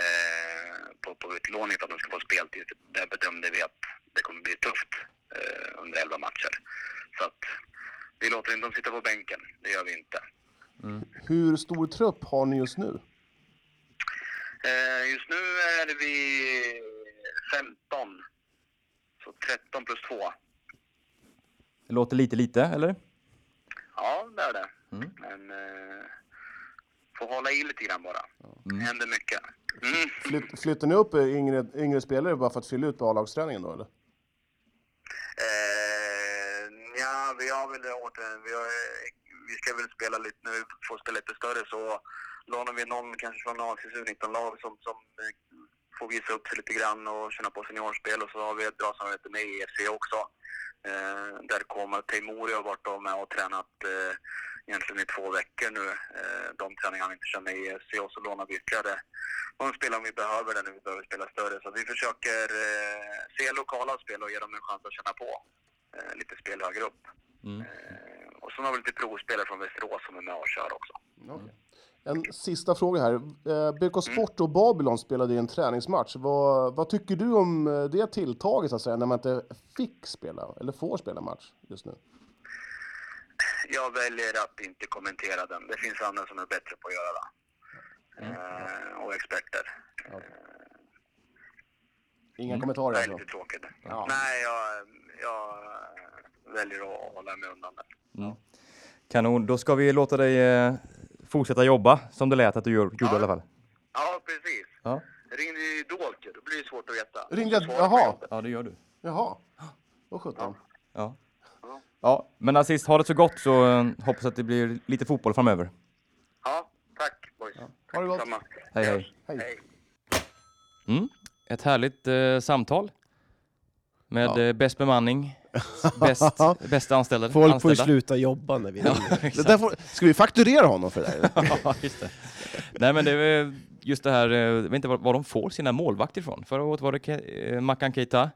Speaker 6: eh, på, på utlåning för att de ska få speltid. Där bedömde vi att det kommer bli tufft eh, under elva matcher. Så att vi låter inte dem sitta på bänken, det gör vi inte.
Speaker 3: Hur stor trupp har ni just nu?
Speaker 6: Eh, just nu är vi 15. Så 13 plus 2.
Speaker 1: Det låter lite lite, eller?
Speaker 6: Ja, det är det. Men eh, får hålla i lite grann bara. Det händer mycket. Mm.
Speaker 3: Flyt, flyttar ni upp yngre, yngre spelare bara för att fylla ut på A-lagsträningen då eller?
Speaker 6: Eh, ja, vi har väl det åter. Vi, har, eh, vi ska väl spela lite, när vi får spela lite större så lånar vi någon kanske från AFCs U19-lag som, som eh,
Speaker 5: få visa upp sig lite grann och känna på seniorspel. Och så har vi ett bra samarbete med EFC också. Eh, där kommer Teimuri har varit med och tränat eh, egentligen i två veckor nu. Eh, de träningar han inte kör med i EFC och så lånar vi ytterligare de spelare om vi behöver det när vi behöver spela större. Så vi försöker eh, se lokala spel och ge dem en chans att känna på eh, lite spel högre upp.
Speaker 1: Mm.
Speaker 5: Eh, och sen har vi lite provspelare från Västerås som är med och kör också.
Speaker 3: Mm. En sista fråga här. Eh, BK Sport och Babylon spelade ju en träningsmatch. Vad, vad tycker du om eh, det tilltaget, så att säga, när man inte fick spela, eller får spela match just nu?
Speaker 5: Jag väljer att inte kommentera den. Det finns andra som är bättre på att göra det. Eh, och experter.
Speaker 3: Inga kommentarer
Speaker 5: Det är
Speaker 3: alltså?
Speaker 5: lite tråkigt. Nej, jag, jag väljer att hålla mig undan det.
Speaker 6: Kanon, då ska vi låta dig eh, fortsätta jobba som det lät att du gör, gjorde i alla fall.
Speaker 5: Ja, precis.
Speaker 6: Ja.
Speaker 5: Ringde ju idolt ju. Då blir det svårt att veta.
Speaker 3: Ringde jag-
Speaker 5: Svårt att
Speaker 3: jaha.
Speaker 5: veta.
Speaker 6: ja, det gör du.
Speaker 3: Jaha. Vad sjutton.
Speaker 6: Ja. ja, men Aziz, ha det så gott så eh, hoppas att det blir lite fotboll framöver.
Speaker 5: Ja, tack boys.
Speaker 3: Ha det gott.
Speaker 5: Detsamma.
Speaker 6: Hej, hej.
Speaker 5: Hej.
Speaker 1: Mm. Ett härligt eh, samtal. Med eh, bäst
Speaker 6: [LAUGHS]
Speaker 1: bemanning, bäst, bästa anställda.
Speaker 2: Folk får ju
Speaker 1: anställda.
Speaker 2: sluta jobba när vi ringer.
Speaker 3: Det där får, ska vi fakturera honom för det
Speaker 2: [LAUGHS]
Speaker 3: här?
Speaker 1: [LAUGHS] Ja, just det. Nej men det är väl just det här, eh, jag vet inte var, var de får sina målvakter ifrån. Förra året var det Ke- eh, Mackan Keita,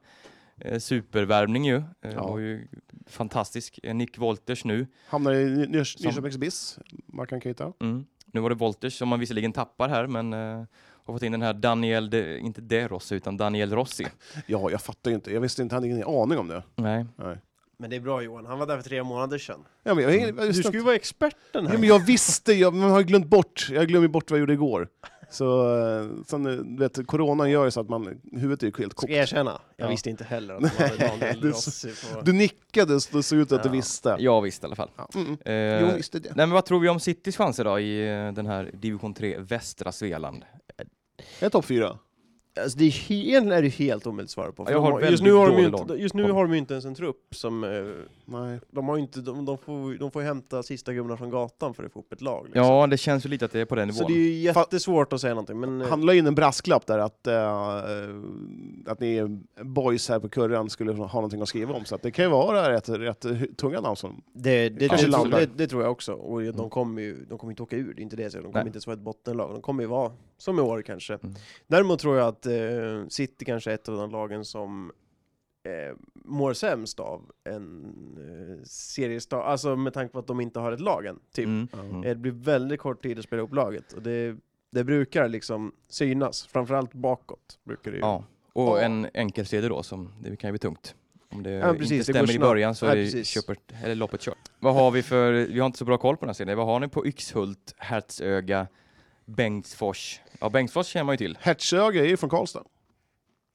Speaker 1: eh, supervärvning ju. Eh, Var ju fantastisk. Eh, Nick Wolters nu.
Speaker 3: Hamnar i Ny- Nyrs- Nyköpings BIS, Mackan Keita.
Speaker 1: Mm. Nu var det Wolters som man visserligen tappar här men eh, har fått in den här Daniel, de, inte De Rossi utan Daniel Rossi.
Speaker 3: Ja, jag fattar ju inte. Jag visste inte, hade ingen aning om det.
Speaker 1: Nej.
Speaker 3: Nej.
Speaker 2: Men det är bra Johan, han var där för tre månader sedan.
Speaker 3: Ja, men jag, jag, jag,
Speaker 2: Du
Speaker 3: visste
Speaker 2: ska ju
Speaker 3: inte.
Speaker 2: vara experten
Speaker 3: ja,
Speaker 2: här.
Speaker 3: men jag visste, jag, man har ju glömt bort. Jag glömmer ju bort vad jag gjorde igår. Så, eh, sen, eh, du vet, coronan gör ju så att man, huvudet är ju helt
Speaker 2: Ska
Speaker 3: kokt.
Speaker 2: jag erkänna, jag
Speaker 3: Ja.
Speaker 2: visste inte heller att [LAUGHS] han hade Daniel
Speaker 3: Du-
Speaker 2: Rossi på...
Speaker 3: Du nickade så det såg ut att du
Speaker 2: Ja.
Speaker 3: visste.
Speaker 1: Jag visste i alla fall.
Speaker 3: Ja. Mm.
Speaker 1: Eh,
Speaker 3: Jo, visste det.
Speaker 1: nej men vad tror vi om Citys chanser då i eh, den här division 3 västra Svealand?
Speaker 3: Är topp fyra?
Speaker 2: Alltså det är, helt, är det helt omöjligt att svara på. för
Speaker 1: Jag
Speaker 2: de
Speaker 1: har
Speaker 2: just
Speaker 1: väldigt
Speaker 2: nu har de ju
Speaker 1: dålig
Speaker 2: inte,
Speaker 1: lag.
Speaker 2: just nu har de ju inte ens en trupp som... eh,
Speaker 3: Nej.
Speaker 2: De, har ju inte, de, de, får, de får ju hämta sista gummorna från gatan för att få upp ett lag. Liksom.
Speaker 1: Ja, det känns ju lite att det är på den nivån.
Speaker 2: Så det är ju jättesvårt att säga någonting, men... eh,
Speaker 3: Han la in en brasklapp där att, eh, att ni boys här på kurran skulle ha någonting att skriva om. Så att det kan ju vara rätt, rätt tunga namn som...
Speaker 2: Det, det,
Speaker 3: Kanske
Speaker 2: det,
Speaker 3: Landberg.
Speaker 2: det, det tror jag också. Och de kommer ju de kommer inte åka ur, det är inte det jag säger. De kommer
Speaker 1: Mm. Nej.
Speaker 2: inte ens vara ett bottenlag. De kommer ju vara som i år kanske.
Speaker 1: Mm.
Speaker 2: Däremot tror jag att eh, City kanske är ett av de lagen som eh, mår sämst av en eh, seriestart. Alltså med tanke på att de inte har ett lag än, typ.
Speaker 1: Mm.
Speaker 2: Eh, Det blir väldigt kort tid att spela upp laget och det, det brukar liksom synas, framförallt bakåt. Brukar det ju.
Speaker 1: Ja, och
Speaker 2: Ja.
Speaker 1: en enkel serie då som det kan ju bli tungt. Om det
Speaker 2: Ja, precis, det går
Speaker 1: inte stämmer i
Speaker 2: snabbt.
Speaker 1: början så
Speaker 2: Ja,
Speaker 1: är det
Speaker 2: precis.
Speaker 1: köper, eller loppet kört. Vad har vi för, vi har inte så bra koll på den här serien. Vad har ni på Yxhult, Hertsöga, Bengtsfors? Ja, Bengtsfors känner man ju till.
Speaker 3: Hertsöga är ju från Karlstad.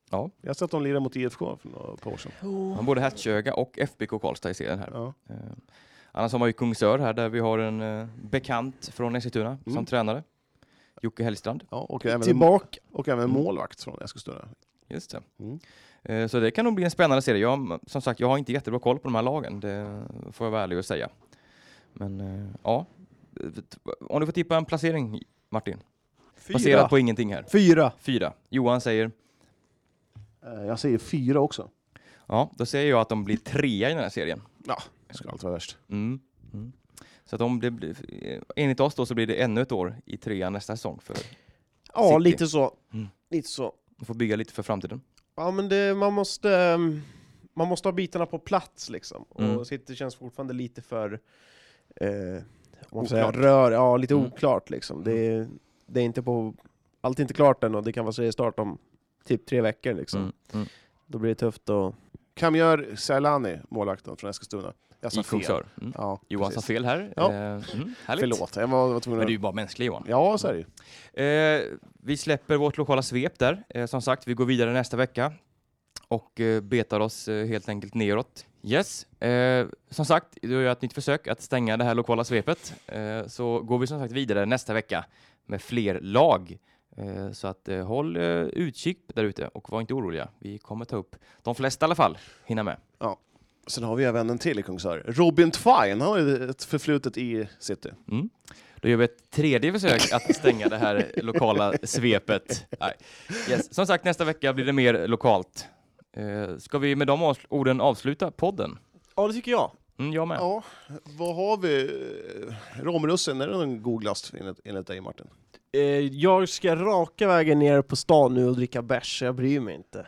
Speaker 1: Ja.
Speaker 3: Jag har sett dem lira mot IFK för några par år sedan.
Speaker 1: Man både Hertsöga och FBK Karlstad i serien här.
Speaker 3: Ja.
Speaker 1: Eh, annars har man ju Kungsör här där vi har en eh, bekant från Eskilstuna som
Speaker 3: Mm.
Speaker 1: tränare. Jocke Hellstrand.
Speaker 3: Ja, och, även,
Speaker 2: Tillbaka.
Speaker 3: och även
Speaker 1: Mm.
Speaker 3: målvakt från Eskilstuna.
Speaker 1: Just det.
Speaker 3: Mm.
Speaker 1: Eh, Så det kan nog bli en spännande serie. Jag, som sagt, jag har inte jättebra koll på de här lagen, det får jag vara ärlig och säga. Men eh, ja, om du får tippa en placering Martin,
Speaker 2: Fyra.
Speaker 1: baserat på ingenting här.
Speaker 2: Fyra.
Speaker 1: Fyra. Johan säger,
Speaker 3: Eh, Jag säger fyra också.
Speaker 1: ja då säger jag att de blir trea i den här serien.
Speaker 3: Det ska allt vara värst.
Speaker 1: Mm. Mm. Så att om det blir, eh, enligt oss då så blir det ännu ett år i trean nästa säsong. För
Speaker 2: Ja,
Speaker 1: City.
Speaker 2: lite så.
Speaker 1: Mm.
Speaker 2: Lite så.
Speaker 1: vi får bygga lite för framtiden.
Speaker 2: Ja men det, man måste ehm, Man måste ha bitarna på plats liksom
Speaker 1: Mm.
Speaker 2: och City känns fortfarande lite för eh, om man får säga,
Speaker 3: Oklart.
Speaker 2: rör, ja lite
Speaker 1: Mm.
Speaker 2: oklart liksom det, är- det är inte på Allt är inte klart än och det kan vara seriestart om typ tre veckor liksom
Speaker 1: Mm. Mm.
Speaker 2: Då blir det tufft och
Speaker 3: Kamjör Selani, målvakten från Eskilstuna. Jag sa
Speaker 1: I
Speaker 3: fel.
Speaker 1: Kungsör. Mm.
Speaker 3: Ja,
Speaker 1: Johan sa
Speaker 3: precis.
Speaker 1: fel här.
Speaker 3: Ja.
Speaker 1: Eh, Mm. Härligt.
Speaker 3: Förlåt, jag var, var tvungen
Speaker 1: Men
Speaker 3: att...
Speaker 1: du är ju bara mänsklig Johan.
Speaker 3: Ja, så är det ju.
Speaker 1: Eh, vi släpper vårt lokala svep där. Eh, som sagt, vi går vidare nästa vecka och eh, betar oss eh, helt enkelt neråt. Yes, eh, som sagt, du gör jag ett nytt försök att stänga det här lokala svepet. Eh, så går vi som sagt vidare nästa vecka med fler lag. Eh, så att eh, håll eh, utkik där ute och var inte oroliga. Vi kommer ta upp de flesta i alla fall, hinna med.
Speaker 3: Sen har vi även en till i Kungsör. Robin Twine, han har ju ett förflutet i City.
Speaker 1: Då gör vi ett tredje försök att stänga det här lokala svepet. Nej. Yes. Som sagt, nästa vecka blir det mer lokalt. Eh, Ska vi med de avs- orden avsluta podden?
Speaker 2: Ja, det tycker jag.
Speaker 1: Mm, jag med.
Speaker 3: Ja, vad har vi? Eh, Romrussen, är det en god glass enligt, enligt dig Martin?
Speaker 2: Eh, jag ska raka vägen ner på stan nu och dricka bärs, så jag bryr mig inte.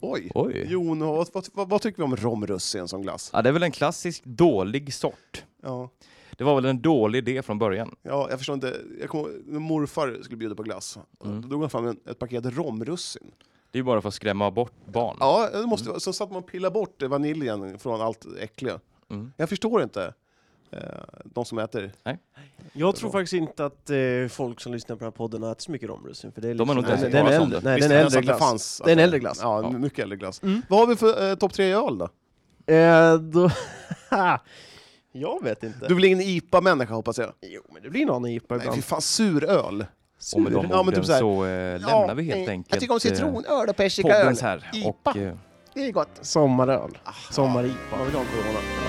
Speaker 3: Oj!
Speaker 1: Oj.
Speaker 3: Jon, vad, vad, vad, vad tycker vi om romrussen som glass?
Speaker 1: Ja, det är väl en klassisk dålig sort.
Speaker 3: Ja,
Speaker 1: Det var väl en dålig idé från början.
Speaker 3: ja jag förstår inte. Jag kommer, ihåg när morfar skulle bjuda på glass. Då drog han fram en, ett paket romrussin.
Speaker 1: Det är ju bara för att skrämma bort barn.
Speaker 3: Ja, det måste, vara- så satt man och pillade bort vaniljen från allt äckliga.
Speaker 1: Mm.
Speaker 3: Jag förstår inte eh, de som äter.
Speaker 2: Jag tror faktiskt inte att eh, folk som lyssnar på den här podden har ätit så mycket romrussin, för det är
Speaker 1: De har nog inte ens
Speaker 2: den,
Speaker 1: hört
Speaker 2: den,
Speaker 1: talas om
Speaker 2: äldre,
Speaker 1: det.
Speaker 2: nej,
Speaker 3: Visst,
Speaker 2: den är
Speaker 3: jag sa
Speaker 2: äldre
Speaker 3: att
Speaker 2: glass.
Speaker 3: fanns- alltså.
Speaker 2: det är en äldre glass.
Speaker 3: Ja,
Speaker 1: Ja.
Speaker 3: mycket äldre glass.
Speaker 2: Mm.
Speaker 3: Vad har vi för eh, topp tre i öl då?
Speaker 2: Eh, då... [LAUGHS] jag vet inte.
Speaker 3: Du är väl ingen IPA-människa hoppas jag?
Speaker 2: Jo, men det blir någon IPA
Speaker 3: Nej,
Speaker 2: ibland.
Speaker 3: fy fan, suröl.
Speaker 1: Och med de
Speaker 3: Ja,
Speaker 1: orden
Speaker 3: men typ så
Speaker 1: så,
Speaker 3: här-
Speaker 1: eh, lämnar vi helt enkelt
Speaker 3: Jag tycker om
Speaker 1: eh,
Speaker 3: citronöl och persikaöl.
Speaker 1: poddens här.
Speaker 3: IPA.
Speaker 1: Och, eh,
Speaker 3: Det är gott.
Speaker 2: Sommaröl. Sommar-IPA.
Speaker 3: Man vill ha en corona.